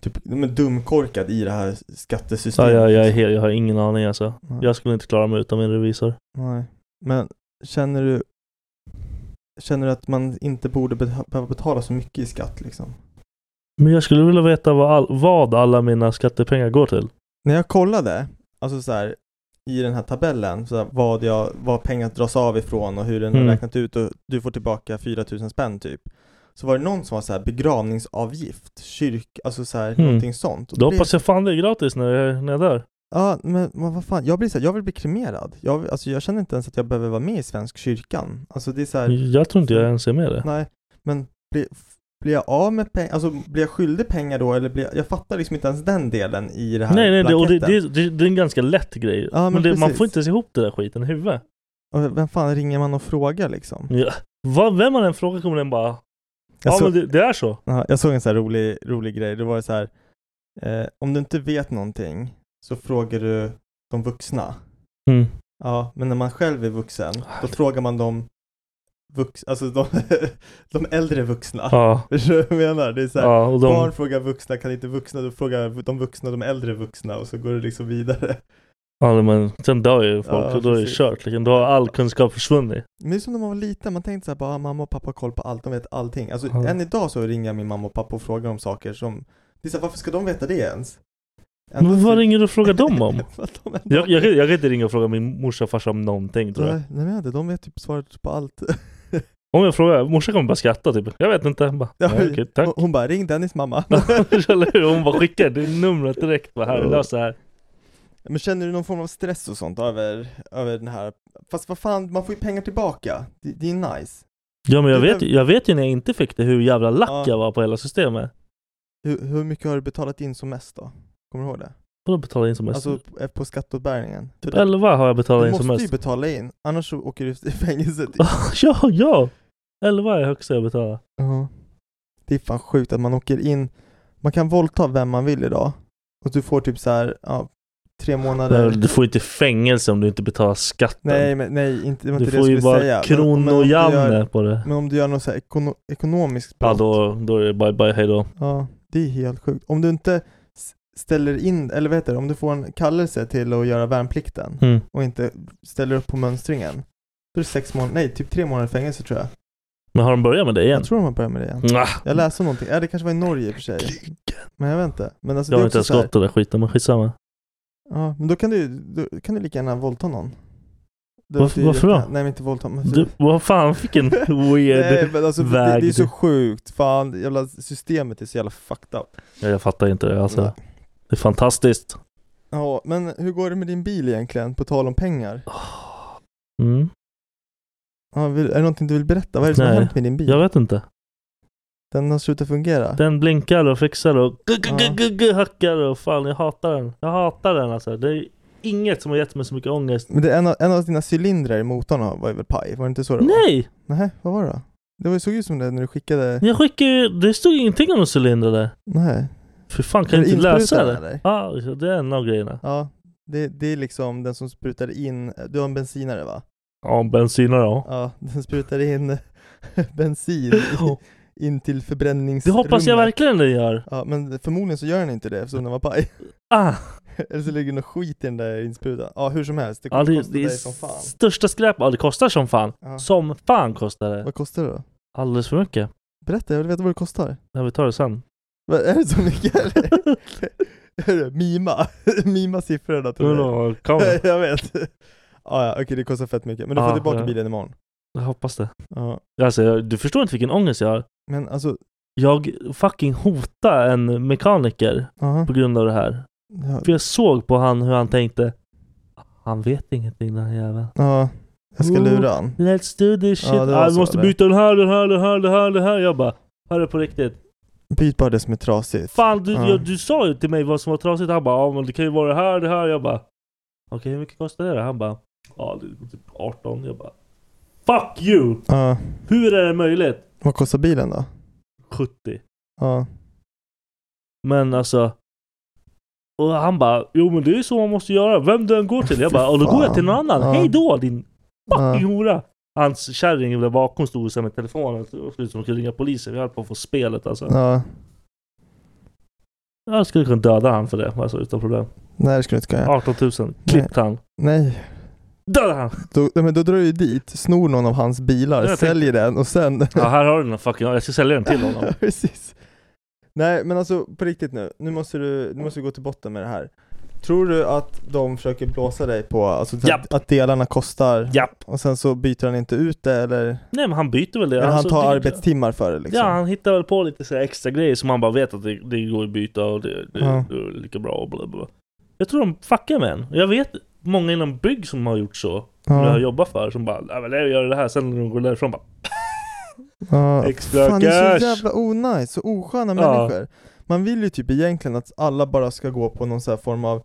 G: typ men dumkorkad i det här
J: Ja,
G: skattesystemet?
J: jag, jag, är
G: liksom?
J: helt, jag har ingen aning alltså.
G: Nej.
J: Jag skulle inte klara mig utan min revisor.
G: Nej. Men känner du Känner du att man inte borde beh- behöva betala så mycket i skatt liksom?
J: Men jag skulle vilja veta vad, all, vad alla mina skattepengar går till.
G: När jag kollade, alltså så här, i den här tabellen, så här, vad, jag, vad pengar dras av ifrån och hur den
J: Mm.
G: har räknat ut och du får tillbaka 4000 spänn typ. Så var det någon som var så här begravningsavgift, kyrk, alltså så här,
J: Mm.
G: någonting sånt. Och
J: Då
G: då blir-
J: hoppas jag fan det är gratis när jag, när jag dör.
G: Ja, men vad vad fan, jag blir så här, jag vill bli kremerad. Jag, alltså jag känner inte ens att jag behöver vara med i Svensk kyrkan. Alltså det är så här,
J: Jag tror inte jag ens är med det.
G: nej, men blir, blir jag av med pengar, alltså blir jag skyldig pengar då eller blir jag, jag fattar liksom inte ens den delen i det här
J: Nej, nej, det, och det,
G: blanketten.
J: det, det, det är en ganska lätt grej.
G: Ja,
J: men
G: men
J: det, man
G: precis.
J: får inte se ihop det där skiten i huvudet.
G: Och vem fan ringer man och frågar liksom?
J: Ja. Vad, vem man än frågar kommer den bara
G: Jag,
J: Ja
G: så,
J: men det, det är så.
G: Ja, jag såg en så här rolig, rolig grej, det var så här eh, Om du inte vet någonting så frågar du de vuxna
J: Mm.
G: Ja, men när man själv är vuxen då frågar man de vux, alltså de, de äldre vuxna
J: Ja.
G: Förstår du vad jag menar? Det är så här,
J: ja och de,
G: Barn frågar vuxna, kan inte vuxna, då frågar de vuxna de äldre vuxna och så går det liksom vidare
J: ja, men sen dör ju folk
G: Ja,
J: och då är det
G: precis.
J: kört liksom. Då har all kunskap försvunnit.
G: Men det är som när man var liten, man tänkte såhär bara "Ah, mamma och pappa har koll på allt, de vet allting. Alltså
J: Ja.
G: än idag så ringer jag min mamma och pappa och frågar om saker som, det är så här, varför ska de veta det ens? Ändå
J: Men vad
G: så-
J: ringer du och frågar dem om?
G: För att de ändå-
J: Jag, jag, kan- jag kan inte ringa och fråga min morsa och farsa om någonting tror jag.
G: Nej, nej men jag vet inte, de vet typ svaret på allt. Om jag frågar, morsan kommer bara skratta typ. Jag vet inte. Jag Bara,
J: Ja,
G: "Nej, okej, tack.
J: hon- Hon bara, ring Dennis mamma.
G: Eller hur? Hon bara skickar det numret direkt. Bara, här, lös det här.
J: Men känner du någon form av stress och sånt över, över den här? Fast vad fan, man får ju pengar tillbaka. Det, det är nice.
G: Ja men jag
J: Det-
G: vet, ju- jag vet ju när jag inte fick det hur jävla lack
J: Ja.
G: jag var på hela systemet.
J: Hur, hur mycket har du betalat in som mest då? Kommer du ihåg det?
G: Vadå betala in som mest?
J: Alltså på, på skatteåterbäringen.
G: typ 11 har jag betalat
J: Du
G: in som
J: måste
G: mest.
J: ju betala in, annars så åker du i fängelse. typ.
G: Ja, ja! 11 är högsta jag betalar.
J: Ja. Det är fan sjukt att man åker in, man kan våldta vem man vill idag. Och du får typ så här, ja, tre månader.
G: Du får ju inte fängelse om du inte betalar skatten.
J: Nej, men nej, inte, det var
G: Du
J: inte det
G: får
J: jag
G: ju
J: skulle
G: bara
J: säga. Men- men om du
G: kronojamne
J: gör-
G: på det.
J: Men om du gör något så här ekono, ekonomiskt
G: Ja
J: brott.
G: då, då är det bye bye hejdå.
J: Ja, det är helt sjukt. Om du inte s- ställer in, eller vad heter det, om du får en kallelse till att göra värnplikten
G: Mm.
J: och inte ställer upp på mönstringen. Då är det sex månader, nej typ tre månader fängelse tror jag.
G: Men har de börjat med det igen? Ah.
J: Jag tror de har börjat med det igen.
G: Mwah.
J: Jag läste om någonting, ja det kanske var i Norge i och för sig. Men jag vet inte. Men alltså
G: jag
J: det är
G: har
J: också
G: inte ens
J: så här,
G: gått den där skiten men skitsamma.
J: Ja, men då kan du då kan du lika gärna våldta någon. Det
G: Varför-
J: låter ju
G: varför då?
J: jätte- Nej men inte våldta, men
G: Du, vad fan vilken
J: Nej
G: weird
J: men alltså det,
G: väg.
J: det är så sjukt, fan jävla systemet är så jävla fucked up.
G: ja, jag fattar inte det alltså.
J: Nej.
G: Det är fantastiskt.
J: Ja, men hur går det med din bil egentligen, på tal om pengar?
G: Mm.
J: Ja, vill, är det någonting du vill berätta? Vad är det som har
G: Nej.
J: hänt med din bil?
G: Jag vet inte.
J: Den har slutat fungera?
G: Den blinkar och fixar och gu- gu-
J: Ja.
G: gu- gu- gu- hackar och fan jag hatar den. Jag hatar den alltså. Det är inget som har gett mig så mycket ångest.
J: Men det är en, av, en av dina cylindrar i motorn har- var ju väl paj? Var det inte så det var?
G: Nej!
J: Nej, vad var det då? Det var- såg ut som det när du skickade...
G: Jag skickade ju, det stod ingenting om någon cylinder där.
J: Nej.
G: För fan kan
J: Är
G: jag
J: det
G: inte läsa
J: insprutan,
G: det?
J: eller?
G: Ja, det är en av grejerna.
J: Ja, det, det är liksom den som sprutar in... Du har en bensinare va?
G: Ja, bensinare ja.
J: Ja, den sprutar in bensin i, in till
G: Det
J: förbränningsrummet.
G: hoppas jag verkligen den gör.
J: Ja, men förmodligen så gör den inte det eftersom den var paj.
G: Ah,
J: Eller så ligger det något skit i den där insprutan. Ja, hur som helst, det kommer
G: ja, det,
J: kosta
G: det är
J: dig som fan.
G: största skräp. Ja, det kostar som fan.
J: Ja.
G: Som fan kostar det.
J: Vad kostar det då?
G: Alldeles för mycket.
J: Berätta, jag vill veta vad det kostar.
G: Ja, vi tar det sen.
J: Vad är det så mycket? eller? Hörru, Mima. Mima siffrorna
G: Nu
J: till mig.
G: då, kom.
J: Jag vet. Ah, Ja, ja, okej det kostar fett mycket. Men du får
G: Ja,
J: tillbaka
G: Ah, ja.
J: bilen imorgon.
G: Jag hoppas det.
J: Ja.
G: Alltså, jag, du förstår inte vilken ångest jag har.
J: Men alltså,
G: Jag fucking hotade en mekaniker
J: aha.
G: på grund av det här.
J: Ja,
G: För jag såg på han hur han tänkte. Han vet ingenting den här jäveln.
J: ja. Jag ska
G: Oh.
J: lura han.
G: Let's do this shit.
J: Ja, det var
G: ah, vi
J: så,
G: måste
J: det.
G: byta den här, den här, den här, den här, den här. Jag bara, hörru på riktigt.
J: Byt bara det som är trasigt.
G: Fan, du,
J: Ja.
G: jag, du sa ju till mig vad som var trasigt. Han bara, ja men det kan ju vara det här, det här. Jag bara, okej hur mycket kostar det? då?" Han bara, ja det är typ 18. Jag bara, fuck you!
J: Ja.
G: Hur är det möjligt?
J: Vad kostar bilen då?
G: 70.
J: Ja.
G: Men alltså och han bara, jo men det är ju så man måste göra, vem du än går till. Jag
J: Fy
G: bara, och då går jag
J: fan.
G: till någon annan.
J: Ja.
G: Hej då din
J: Ja.
G: fucking hora! Hans kärring där bakom stod så här med telefonen alltså, och såg ut som att ringa polisen. Vi höll på att få spelet alltså.
J: ja.
G: Jag skulle kunna döda han för det, alltså utan problem.
J: Nej, det skulle du inte kunna göra.
G: 18 000, klippt han.
J: Nej.
G: Döda han!
J: Då, nej, men då drar du ju dit, snor någon av hans bilar,
G: Jag tänkte-
J: säljer den och sen...
G: Ja här har du den fucking, jag ska sälja den till honom.
J: Precis. Nej, men alltså på riktigt nu. Nu måste du, nu måste du gå till botten med det här. Tror du att de försöker blåsa dig på alltså, att-
G: Japp.
J: att delarna kostar
G: Japp!
J: och sen så byter han inte ut det eller,
G: Nej men han byter väl det.
J: eller han
G: Alltså,
J: tar
G: det-
J: arbetstimmar för det liksom?
G: Ja, han hittar väl på lite så här extra grejer som han bara vet att det, det går att byta och det, det,
J: Ja.
G: det är lika bra och bla bla. bla. Jag tror de fuckar med en. Jag vet många inom bygg som har gjort så. Som
J: Ja.
G: jag jobbar för. Som bara, "Nej, men jag gör det här. Sen när de går därifrån bara,
J: Ja.
G: Extra
J: Fan, det är så
G: cash.
J: jävla onajs, så osköna
G: Ja.
J: människor. Man vill ju typ egentligen att alla bara ska gå på någon så här form av,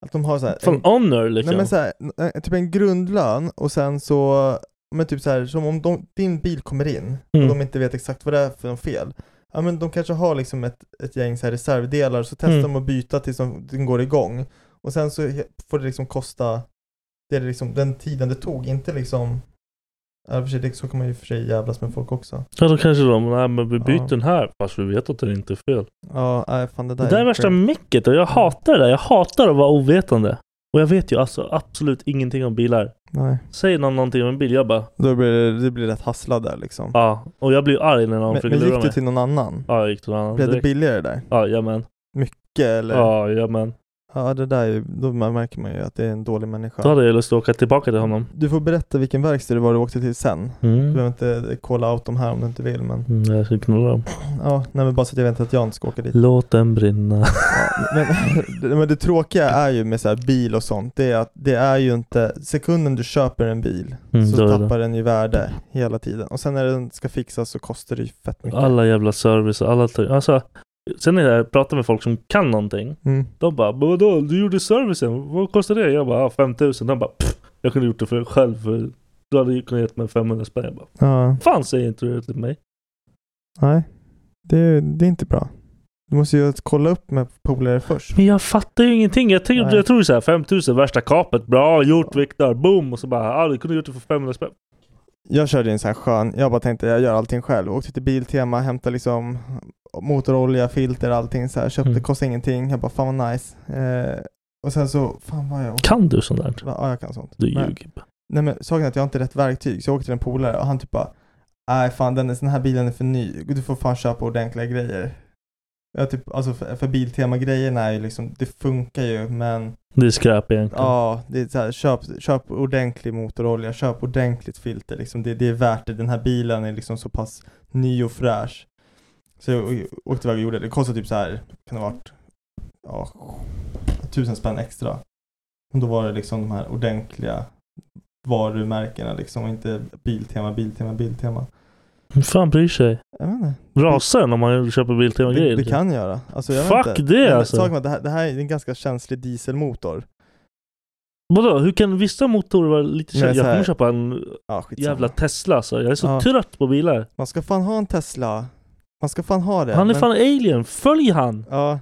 J: att de har så här,
G: fan
J: en-
G: honor
J: Nej
G: liksom.
J: men såhär, typ en grundlön och sen så, men typ såhär, som om de, din bil kommer in
G: Mm.
J: och de inte vet exakt vad det är för något fel. Ja men de kanske har liksom ett, ett gäng så här reservdelar så testar
G: Mm.
J: de att byta tills de, den går igång. Och sen så he- får det liksom kosta det det liksom, den tiden det tog, inte liksom Ja, i och för sig, det- så kan man ju i och för sig jävlas med folk också.
G: Ja då kanske de, nej men vi byter
J: Ja.
G: den här. Fast vi vet att den inte är fel.
J: Ja, nej, fan det där Mm.
G: det där är värsta mecket och jag hatar det där. Jag hatar att vara ovetande. Och jag vet ju alltså absolut ingenting om bilar.
J: Nej,
G: Säger någon någonting om en bil, jag bara,
J: då blir det, det blir rätt hasslad där liksom.
G: ja. Och jag blir arg när någon
J: men,
G: försöker
J: men
G: lura
J: gick du
G: mig.
J: till någon annan?
G: Ja, jag gick till någon annan
J: Blev det
G: direkt.
J: billigare där?
G: Ja, jajamän.
J: Mycket eller?
G: Ja, jajamän. Ja, det där är ju, då märker man ju att det är en dålig människa.
I: Då hade jag lust att åka tillbaka till honom.
G: Du får berätta vilken verkstad det var du åkte till sen.
I: Mm.
G: Du behöver inte kolla out dem här om du inte vill men
I: Mm, jag ska knulla dem.
G: Ja, nej men bara så att jag väntar att Jan ska åka dit.
I: Låt den brinna.
G: Men, men det tråkiga är ju med så här bil och sånt, det är att det är ju inte, sekunden du köper en bil
I: Mm,
G: så
I: då är det.
G: tappar den ju värde hela tiden. Och sen när den ska fixas så kostar det ju fett mycket.
I: Alla jävla service och alla... Alltså, sen när jag pratar med folk som kan någonting.
G: Mm.
I: De bara "Men vadå, du gjorde servicen, vad kostar det? Jag bara "Ah, 5000. De bara "Pff, jag kunde gjort det för själv för du hade ju kunnat gett mig 500 spänn. Jag bara
G: Ja,
I: fan säger inte du det till mig?
G: nej. Det, det är inte bra. Du måste ju kolla upp med polare först.
I: Men jag fattar ju ingenting. Jag, tänkte,
G: Nej.
I: jag tror så här 5000 värsta kapet, bra gjort Viktor, boom! Och så bara ah, du kunde gjort det för 500 spänn.
G: Jag körde ju en sån här skön, jag bara tänkte jag gör allting själv. Åkte till Biltema, hämtade liksom motorolja, filter, allting så här. Köpte,
I: Mm.
G: kostade ingenting. Jag bara fan vad nice. Eh, och sen så, fan vad jag åkte.
I: Kan du sånt där?
G: Ja, jag kan sånt.
I: Du
G: Men-
I: ljuger.
G: Nej men saken är att jag har inte rätt verktyg, så jag åkte till en polare och han typ bara Nej fan den, den här bilen är för ny, du får fan köpa ordentliga grejer. Jag typ, alltså för, för Biltema-grejerna är ju liksom, det funkar ju men
I: Det är skräp egentligen.
G: ja, det är så här, köp, köp ordentlig motorolja, köp ordentligt filter liksom, det, det är värt det. Den här bilen är liksom så pass ny och fräsch. Så jag å- åkte iväg och gjorde det, det kostade typ så här, kan det ha varit, ja, tusen spänn extra. Och då var det liksom de här ordentliga varumärkena liksom och inte Biltema, Biltema, Biltema.
I: Vem fan bryr sig?
G: Jag vet inte.
I: Rasar den om man köper Biltema-grejer?
G: Det, det kan göra. Alltså, jag
I: Fuck
G: vet inte.
I: det,
G: Men
I: alltså.
G: saken var att Det här, det här är en ganska känslig dieselmotor.
I: Vadå, hur kan vissa motorer vara lite
G: Men
I: känsliga?
G: så
I: Jag
G: här-
I: kommer köpa en
G: Ja, skitsamma.
I: jävla Tesla alltså. Jag är så
G: Ja.
I: trött på bilar.
G: Man ska fan ha en Tesla. Man ska fan ha det.
I: han är
G: men-
I: fan alien, följ han!
G: Ja.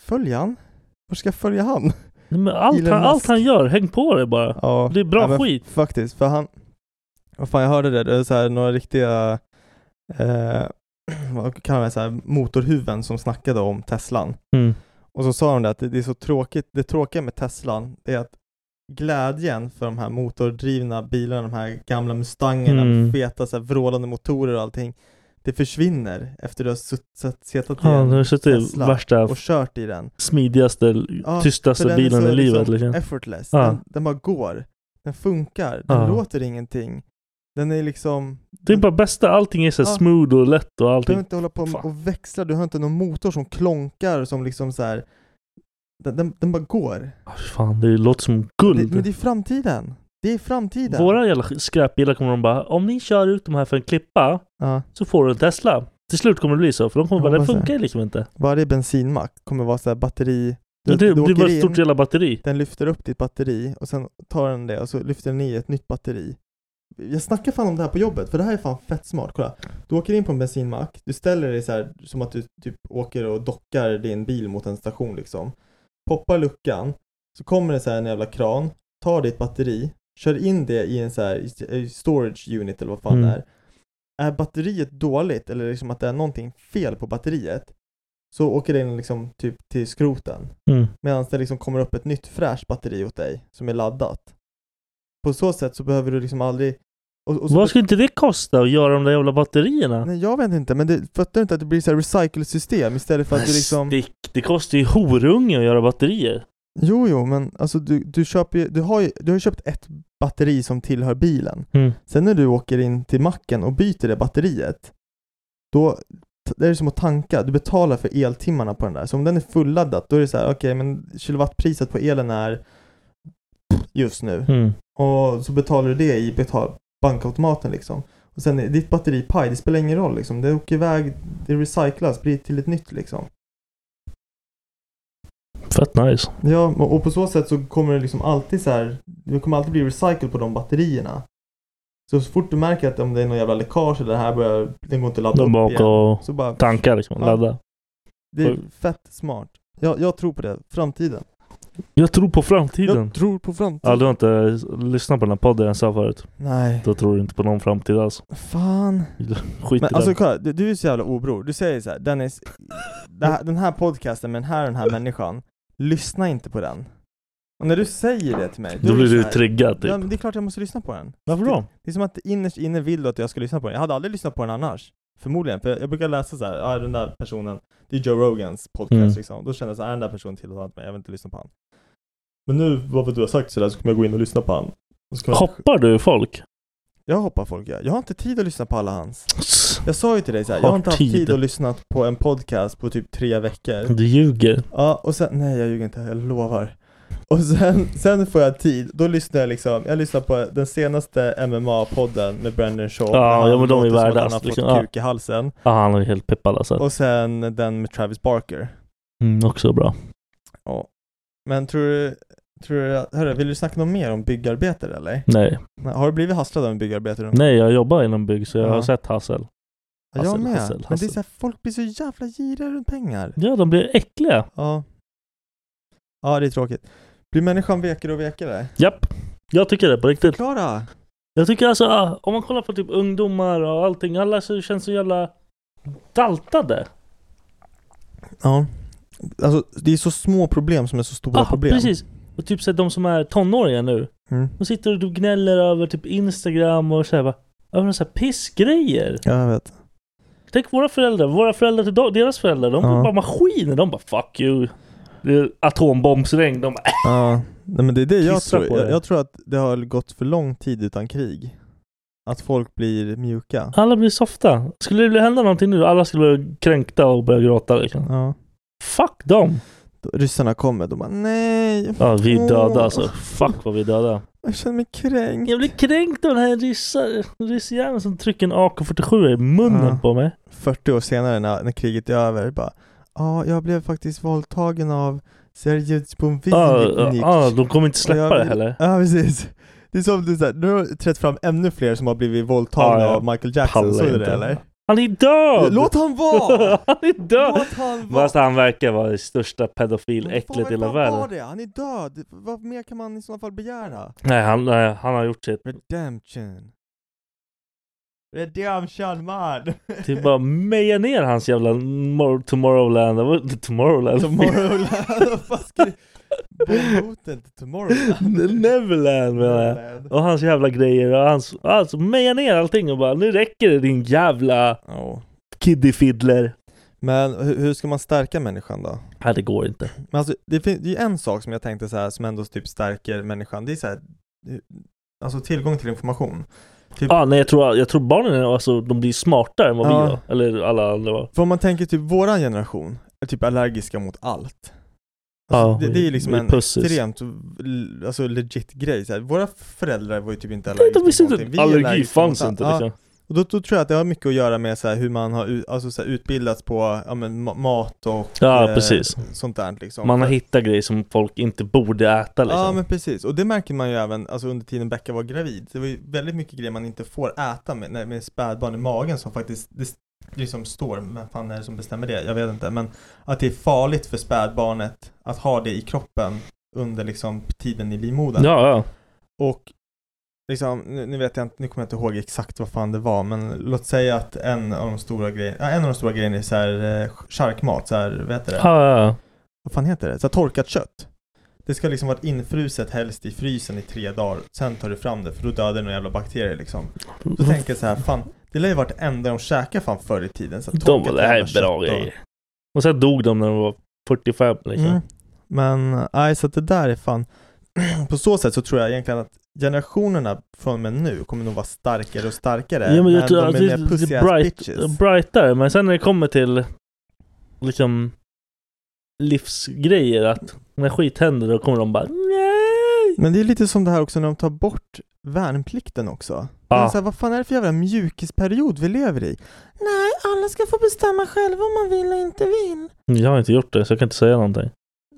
G: Följ han? Var ska jag följa han?
I: Nej, men allt,
G: Elon
I: han,
G: Musk.
I: allt han gör, häng på det bara.
G: Ja.
I: Det är bra
G: ja, men
I: skit.
G: Faktiskt, för han... Vad fan, jag hörde det. Det är så här, några riktiga... Eh, vad kallar man det? Så här, motorhuven som snackade om Teslan.
I: Mm.
G: Och så sa de det att det det är så tråkigt, det tråkiga med Teslan är att glädjen för de här motordrivna bilarna, de här gamla Mustangerna
I: Mm.
G: med feta så här, vrålande motorer och allting, det försvinner efter du har sutt- satt- suttit i
I: Han
G: en
I: har suttit i
G: Tesla
I: värsta,
G: och kört i den.
I: smidigaste,
G: Ja, för
I: tystaste
G: den är
I: bilen
G: så
I: i livet. Liksom.
G: effortless.
I: Ja.
G: Den, den bara går. Den funkar. Den
I: Ja.
G: låter ingenting. Den är liksom...
I: Det är bara bästa, allting är så
G: Ja.
I: smooth och lätt och
G: Du behöver
I: allting.
G: inte hålla på
I: Fan.
G: och växla. Du har inte någon motor som klonkar som liksom så här. Den, den, den bara går.
I: Ah, Fan, det låter som
G: Det,
I: guld.
G: men det är framtiden. Det är framtiden.
I: Våra jävla skräpbilar kommer de bara, om ni kör ut de här för en klippa
G: Ja.
I: så får du en Tesla. Till slut kommer det bli så, för de kommer
G: Jag
I: bara, den
G: hoppas det.
I: funkar liksom inte.
G: Varje bensinmack kommer vara så här batteri. Du,
I: Men det
G: du
I: blir bara
G: åker
I: ett stort
G: in,
I: jävla batteri.
G: den lyfter upp ditt batteri och sen tar den det och så lyfter den i ett nytt batteri. Jag snackar fan om det här på jobbet för det här är fan fett smart. Kolla. Du åker in på en bensinmack, du ställer dig så här som att du typ åker och dockar din bil mot en station liksom. Poppar luckan, så kommer det så här en jävla kran, tar ditt batteri, kör in det i en så här i storage unit eller vad fan
I: Mm.
G: det är. Är batteriet dåligt eller liksom att det är någonting fel på batteriet så åker den liksom typ till skroten.
I: Mm.
G: Medan det liksom kommer upp ett nytt fräscht batteri åt dig som är laddat. På så sätt så behöver du liksom aldrig... Och, och så
I: Vad skulle inte det kosta att göra de där jävla batterierna?
G: Nej jag vet inte, men det, fattar du inte att det blir så här recycle-system istället för att du
I: Men
G: liksom...
I: stick, det kostar ju horunge att göra batterier.
G: Jo, jo, men alltså du, du köper ju, du har ju, du har ju köpt ett batteri som tillhör bilen.
I: Mm.
G: Sen när du åker in till macken och byter det batteriet, då t- det är det som att tanka, du betalar för eltimmarna på den där. Så om den är fulladdad, då är det så här, okej, men kilowattpriset på elen är just nu.
I: Mm.
G: Och så betalar du det i betal- bankautomaten liksom. Och sen är ditt batteri paj, det spelar ingen roll liksom. Det åker iväg, det recyclas, blir till ett nytt liksom.
I: Fett nice.
G: Ja, och och på så sätt så kommer det liksom alltid så här, det kommer alltid bli recycle på de batterierna. Så så fort du märker att om det är någon jävla läckage eller det här börjar, den går inte att ladda
I: De bara
G: upp
I: åker
G: igen.
I: och
G: Så bara,
I: tankar liksom,
G: Ja.
I: ladda.
G: det är fett smart. Jag, jag tror på det, framtiden.
I: Jag tror på framtiden.
G: Jag tror på
I: Ja,
G: framtiden.
I: du har inte lyssnat på den här podden jag sa förut.
G: Nej,
I: Då tror du inte på någon framtid alls.
G: fan.
I: Skit
G: Men
I: i
G: alltså
I: den.
G: kolla, du, du är så jävla obror. Du säger så här, Dennis, det här, den här podcasten med den här och den här människan, lyssna inte på den. Och när du säger det till mig,
I: Då
G: är
I: blir
G: så
I: du
G: här,
I: triggad typ.
G: Ja, men det är klart jag måste lyssna på den.
I: Varför då?
G: Det är som att innerst inne vill du att jag ska lyssna på den. Jag hade aldrig lyssnat på den annars.
J: Förmodligen, för jag brukar läsa så här, ah, den där personen, det är Joe Rogans podcast
G: Mm.
J: liksom. Då känner jag så här, ah, den där personen tilltalar inte mig, jag vill inte lyssna på han. Men nu, vad för du har sagt sådär, så kommer jag gå in och lyssna på han. Och så kommer jag-
G: Hoppar du folk?
J: Jag hoppar folk, ja. Jag har inte tid att lyssna på alla hans. Jag sa ju till dig så här, jag
G: Har
J: har inte haft
G: tid.
J: tid att lyssna på en podcast på typ tre veckor.
G: Du ljuger.
J: Ja, och sen, nej jag ljuger inte, jag lovar. Och sen, sen får jag tid, då lyssnar jag liksom, jag lyssnar på den senaste MMA-podden med Brandon Shaw.
G: Ja,
J: när han
G: ja, men de
J: låter
G: är
J: som att
G: värda,
J: Han har fått
G: liksom, ja.
J: kuk i halsen.
G: Ja, han är helt peppad alltså.
J: Och sen den med Travis Barker.
G: Mm, också bra.
J: Ja. Men tror du, tror du, hörru, vill du snacka något mer om byggarbetare eller?
G: Nej.
J: Nej, Har du blivit hasslad av en byggarbetare? någon gång?
G: Nej, jag jobbar inom bygg så jag
J: Ja.
G: har sett Hassel.
J: Ja, jag
G: Hassel,
J: med.
G: Hassel,
J: Men det är
G: Hassel.
J: så här, folk blir så jävla giriga runt pengar.
G: Ja, de blir äckliga.
J: Ja. Ja, det är tråkigt. Blir människan vekare och vekare?
G: Japp. Jag tycker det på riktigt.
J: Klara!
G: Jag tycker alltså, ah, om man kollar på typ ungdomar och allting, alla så känns så jävla daltade.
J: Ja. Alltså, det är så små problem som är så stora
G: Ah,
J: problem.
G: precis. Och typ såhär, de som är tonåringar nu.
J: Mm.
G: De sitter och du gnäller över typ Instagram och såhär bara, över såhär pissgrejer.
J: Ja, jag vet.
G: Tänk våra föräldrar, våra föräldrar till de- deras föräldrar, de
J: Ja.
G: var bara maskiner. De bara 'fuck you' Det är atombombsregn. De bara,
J: Ja. Nej, men det är det jag
G: Kissar
J: tror.
G: på
J: Jag,
G: det.
J: jag tror att det har gått för lång tid utan krig. Att folk blir mjuka.
G: alla blir softa. Skulle det hända någonting nu, alla skulle bli kränkta och börja gråta liksom.
J: Ja.
G: Fuck dem!
J: Då- Ryssarna kommer, de bara nej.
G: Ja, vi är
J: Åh,
G: döda alltså. Fuck vad vi är döda.
J: Jag känner mig kränkt.
G: Jag blir kränkt av den här ryssa- ryssjäveln som trycker en AK47 i munnen
J: Ja.
G: på mig.
J: 40 år senare när, när kriget är över, bara Ja, jag blev faktiskt våldtagen av Sergej
G: Ja,
J: Bumvinnik.
G: ja, de kommer inte släppa det heller.
J: Ja, precis. Det är som du säger, nu har du trätt fram ännu fler som har blivit våldtagna
G: Ja, ja.
J: av Michael Jackson,
G: Pallar
J: såg du
G: inte.
J: det eller?
G: Han är död!
J: Låt han vara!
G: han är död!
J: Låt han vara!
G: Fast han verkar vara det största pedofiläcklet i
J: Fan,
G: hela
J: fan, var
G: världen.
J: det? Han är död! Vad mer kan man i sådana fall begära?
G: Nej, han, nej, han har gjort sitt.
J: Redemption. Redemption man!
G: Det är Typ bara meja ner hans jävla mor- Tomorrowland. Det var- Tomorrowland?
J: Tomorrowland, vad fan ska du... Bomboten till Tomorrowland.
G: Neverland menar jag.
J: Neverland.
G: Och hans jävla grejer och hans... Alltså meja ner allting och bara nu räcker det din jävla
J: Ja.
G: kiddie fiddler.
J: Men hur, hur ska man stärka människan då?
G: Nej det går inte.
J: Men alltså, det, fin- det är ju en sak som jag tänkte så här, som ändå typ stärker människan. Det är så här, eh, alltså tillgång till information. Typ-
G: Ja ah, nej jag tror, jag tror barnen är, alltså, de blir smartare än vad
J: Ja.
G: vi var. Eller alla andra var.
J: För om man tänker typ våran generation är typ allergiska mot allt.
G: Ja,
J: Alltså, det, det är ju liksom
G: vi-
J: en
G: pussis.
J: extremt l- alltså, legit grej. Så här, våra föräldrar var ju typ inte
G: Nej,
J: allergiska
G: de visste
J: mot
G: inte.
J: någonting. Vi
G: att
J: är
G: Allergi
J: allergiska mot
G: fanns
J: allt.
G: inte
J: Ja,
G: liksom.
J: Och då, då tror jag att det har mycket att göra med så här, hur man har u- alltså, så här, utbildats på ja, men, ma- mat och eh,
G: Ja, precis.
J: sånt där liksom.
G: Man har
J: För-
G: hittat grejer som folk inte borde äta liksom.
J: Ja men precis, och det märker man ju även alltså, under tiden Becka var gravid. Det var ju väldigt mycket grejer man inte får äta med, när- med spädbarn i magen som faktiskt, det s- liksom står, vem fan är det som bestämmer det? Jag vet inte, men att det är farligt för spädbarnet att ha det i kroppen under liksom tiden i livmodern.
G: Ja, ja.
J: Och liksom, nu, nu vet jag inte, nu kommer jag inte ihåg exakt vad fan det var, men låt säga att en av de stora grejerna, ja, en av de stora grejerna är så här eh, charkmat, så här, vad heter det?
G: Ja, ja, ja.
J: vad fan heter det? Så här, torkat kött. Det ska liksom varit infruset helst i frysen i tre dagar, sen tar du fram det för då dödar det några jävla bakterier liksom. Då
G: Mm.
J: tänker jag så här, fan, det lär ju varit det enda de käkar fan förr i tiden. Så här,
G: De bara,
J: torkat
G: det här
J: jävla
G: är bra
J: kött och-
G: grejer. Och sen dog de när de var 45 liksom.
J: Mm. Men nej, så att det där är fan, på så sätt så tror jag egentligen att generationerna från och med nu kommer nog vara starkare och starkare.
G: Ja, men jag
J: men
G: tror
J: de
G: att
J: är
G: det,
J: mer
G: det
J: pussy
G: är
J: ass
G: bright,
J: bitches.
G: brightare, men sen när det kommer till liksom livsgrejer, att när skit händer då kommer de bara nej.
J: Men det är lite som det här också när de tar bort värnplikten också.
G: Ja.
J: Men Så här, vad fan är det för jävla mjukisperiod vi lever i? Nej, alla ska få bestämma själva om man vill och inte vill.
G: Jag har inte gjort det, så jag kan inte säga någonting.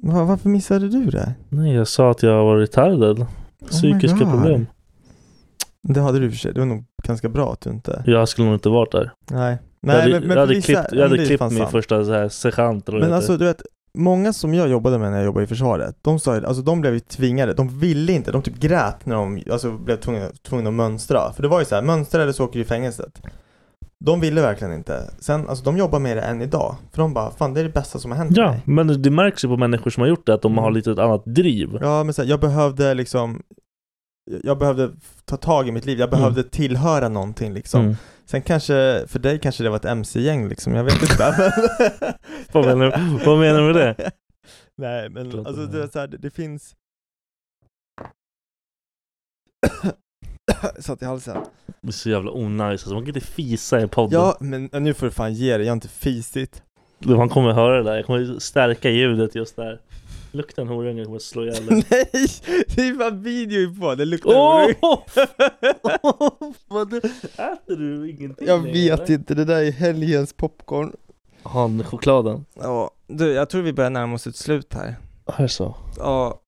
J: Va, varför missade du det? Oh
G: Nej, jag sa att jag var retarded. Psykiska
J: God.
G: problem.
J: Det hade du i och för sig. Det var nog ganska bra att du inte...
G: Jag skulle nog inte varit där.
J: Nej.
G: jag
J: Nej, men,
G: hade,
J: men
G: jag
J: för
G: hade
J: vissa-
G: klippt,
J: men
G: jag hade
J: det är
G: klippt
J: fan
G: min
J: sant.
G: första så här sergeant eller vad
J: Men
G: det
J: alltså
G: heter.
J: du vet, många som jag jobbade med när jag jobbade i försvaret, de sa ju, alltså de blev ju tvingade, de ville inte, de typ grät när de alltså, blev tvungna, tvungna att mönstra. För det var ju så här, mönstra eller så åker du i fängelset. De ville verkligen inte. Sen, alltså de jobbar med det än idag. För de bara, fan det är det bästa som har hänt
G: Ja,
J: mig.
G: men det märks ju på människor som har gjort det att de har
J: Mm.
G: lite ett annat driv.
J: Ja, men så här, jag behövde liksom, jag behövde ta tag i mitt liv, jag behövde tillhöra någonting liksom.
G: Mm.
I: Sen kanske, för dig kanske det var ett mc-gäng liksom, jag vet inte.
G: Vad menar du- vad menar du med det?
I: Nej men
G: Pratar
I: alltså
G: med-
I: det, är så här, det, det finns... Satt i halsen.
G: Det är så jävla onajs. Alltså, man kan inte fisa i podden.
I: Ja men nu får du fan ge dig, jag har inte fisit.
G: Man kommer höra det där. Jag kommer stärka ljudet just där. Lukten horunge kommer slå ihjäl dig.
I: Nej! Det är fan video på, det luktar
G: Åh!
I: Vad du-
G: Äter du ingenting
I: Jag
G: längre,
I: vet
G: eller?
I: inte, det där är helgens popcorn.
G: Han chokladen.
I: Ja, du jag tror vi börjar närma oss ett slut här.
G: Här så.
I: Ja.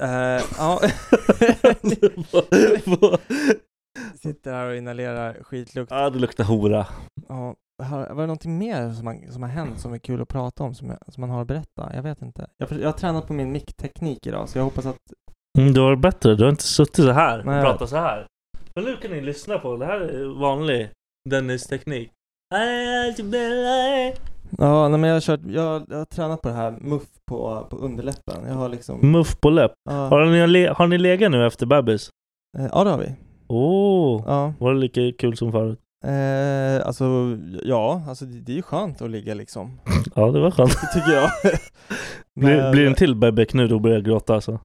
I: Eh, ja. Sitter här och inhalerar skitlukt.
G: Ja, det luktar hora.
I: Ja, har, var det någonting mer som, har- som har hänt som är kul att prata om, som, jag, som man har att berätta? Jag vet inte. Jag, jag har tränat på min mickteknik idag, så jag hoppas att...
G: Mm, du har varit bättre. Du har inte suttit så här
I: Nej,
G: och
I: jag
G: pratat så här. Men nu kan ni lyssna på. Det här är vanlig Dennis-teknik.
I: Ja, nej, men jag har, kört, jag, jag har tränat på det här muff på, på underläppen. Jag har liksom...
G: Muff på läpp.
I: Ja.
G: Har ni, le- har ni legat nu efter bebis?
I: Eh, ja, det har vi.
G: Åh!
I: Ja.
G: Var det lika kul som förut?
I: Eh, alltså, ja, alltså det, det är ju skönt att ligga liksom.
G: Ja, det var skönt.
I: Det tycker jag.
G: Blir,
I: Men-
G: blir det en till bebek nu, då börjar jag gråta alltså.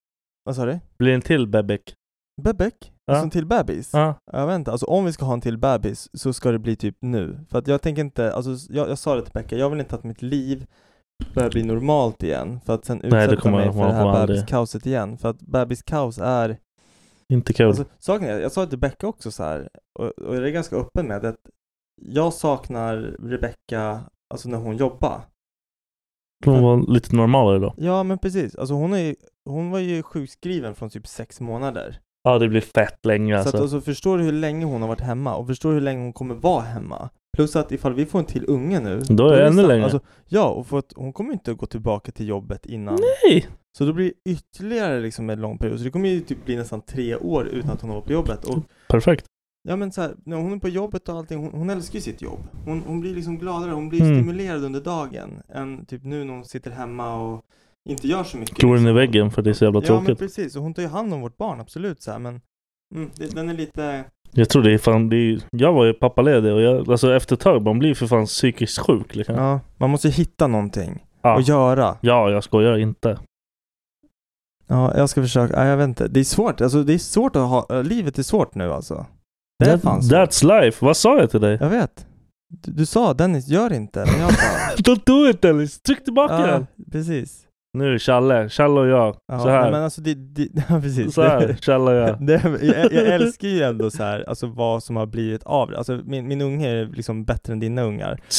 I: Vad sa du?
G: Blir det en till bebek?
I: Bebek?
G: Ja.
I: Alltså en till bebis?
G: Ja.
I: Jag vet inte, alltså om vi ska ha en till bebis så ska det bli typ nu. För att jag tänker inte, alltså jag, jag sa det till Becka, jag vill inte att mitt liv börjar bli normalt igen. För att sen
G: Nej, det
I: utsätta
G: kommer-
I: mig för
G: man
I: det
G: kommer
I: här
G: aldrig-
I: bebiskaoset igen. För att bebiskaos är,
G: Inte kul.
I: alltså saken är, jag sa det till Becka också så här, och, och jag är ganska öppen med det, att jag saknar Rebecka, alltså när hon jobbar.
G: De var lite normalare då.
I: Ja men precis, alltså hon, är, ju- hon var ju sjukskriven från typ sex månader.
G: Ja, det blir fett länge
I: Så att,
G: alltså.
I: alltså, förstår du hur länge hon har varit hemma och förstår du hur länge hon kommer vara hemma? Plus att ifall vi får en till unge nu
G: Då är det ännu
I: sam-
G: längre.
I: alltså, Ja, och för att hon kommer inte gå tillbaka till jobbet innan
G: Nej!
I: Så då blir det ytterligare liksom en lång period, så det kommer ju typ bli nästan tre år utan att hon har varit på jobbet och
G: Perfekt.
I: Ja men så här, när hon är på jobbet och allting, hon, hon älskar ju sitt jobb hon, hon blir liksom gladare, hon blir
G: Mm.
I: stimulerad under dagen än typ nu när hon sitter hemma och inte gör så mycket
G: Tror den i
I: liksom.
G: väggen för det är så jävla
I: Ja men
G: tråkigt.
I: precis, och hon tar ju hand om vårt barn absolut så här, men mm, det, den är lite
G: Jag tror det är fan, det är, jag var ju pappaledig och jag, alltså efter ett tag, man blir ju för fan psykiskt sjuk liksom.
I: Ja, man måste hitta någonting
G: Ja.
I: att göra.
G: Ja, jag skojar inte.
I: Ja, jag ska försöka. Ja, jag vet inte. Det är svårt. Alltså, det är svårt att ha... äh, Livet är svårt nu alltså. Det är
G: That-
I: fan svårt.
G: That's life. Vad sa jag till dig?
I: Jag vet. Du, du sa Dennis, gör inte. Men jag bara...
G: Don't do it Dennis! Tryck tillbaka
I: ja,
G: den!
I: precis.
G: Nu Challe, Challe och jag.
I: Ja,
G: så här.
I: nej, Men alltså, det, det, ja, precis.
G: Så här, Challe och jag.
I: Det, jag, jag älskar ju ändå så här, alltså vad som har blivit av det. Alltså min, min unge är liksom bättre än dina ungar.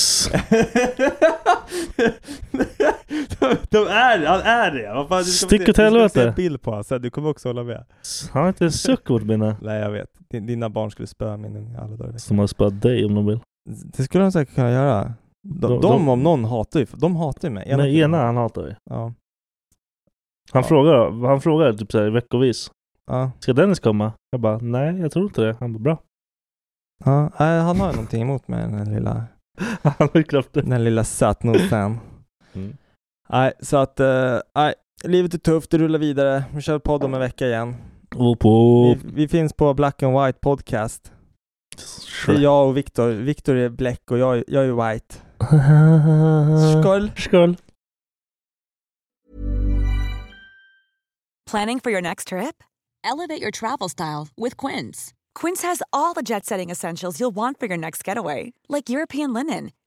I: de, de är det, han är det! Vad fan, du ska få
G: Stick
I: se-
G: åt
I: Du ska få se
G: helvete.
I: en bild på honom sen, du kommer också hålla med.
G: Han har inte en suck åt mina.
I: Nej jag vet, Din- dina barn skulle spöa min unge alla dagar i veckan.
G: Som har spöat dig om de vill.
I: Det skulle de säkert kunna göra. De, de,
G: De- de-
I: om någon hatar ju, de hatar ju mig.
G: Ena Nej,
I: killen.
G: ena han hatar dig.
I: Ja.
G: Han
I: Ja.
G: frågar, han frågar typ såhär veckovis.
I: Ja.
G: Ska Dennis komma? Jag bara, nej jag tror inte det. Han bara, bra.
I: ja, äh. nej, Eh, han har ju någonting emot mig den här lilla,
G: Han har ju klart det.
I: den här lilla sötnosen.
G: Mm.
I: Nej, så att, eh, nej, livet är tufft, det rullar vidare. Vi kör podd om en vecka igen.
G: Och på...
I: Vi, vi finns på Black and White Podcast. Det är jag och Viktor. Viktor är black och jag, är- jag är white.
G: Mm.
I: Skål!
G: Skål.
J: Planning for your next trip?
L: Elevate your travel style with Quince.
J: Quince has all the jet setting essentials you'll want for your next getaway, like European linen,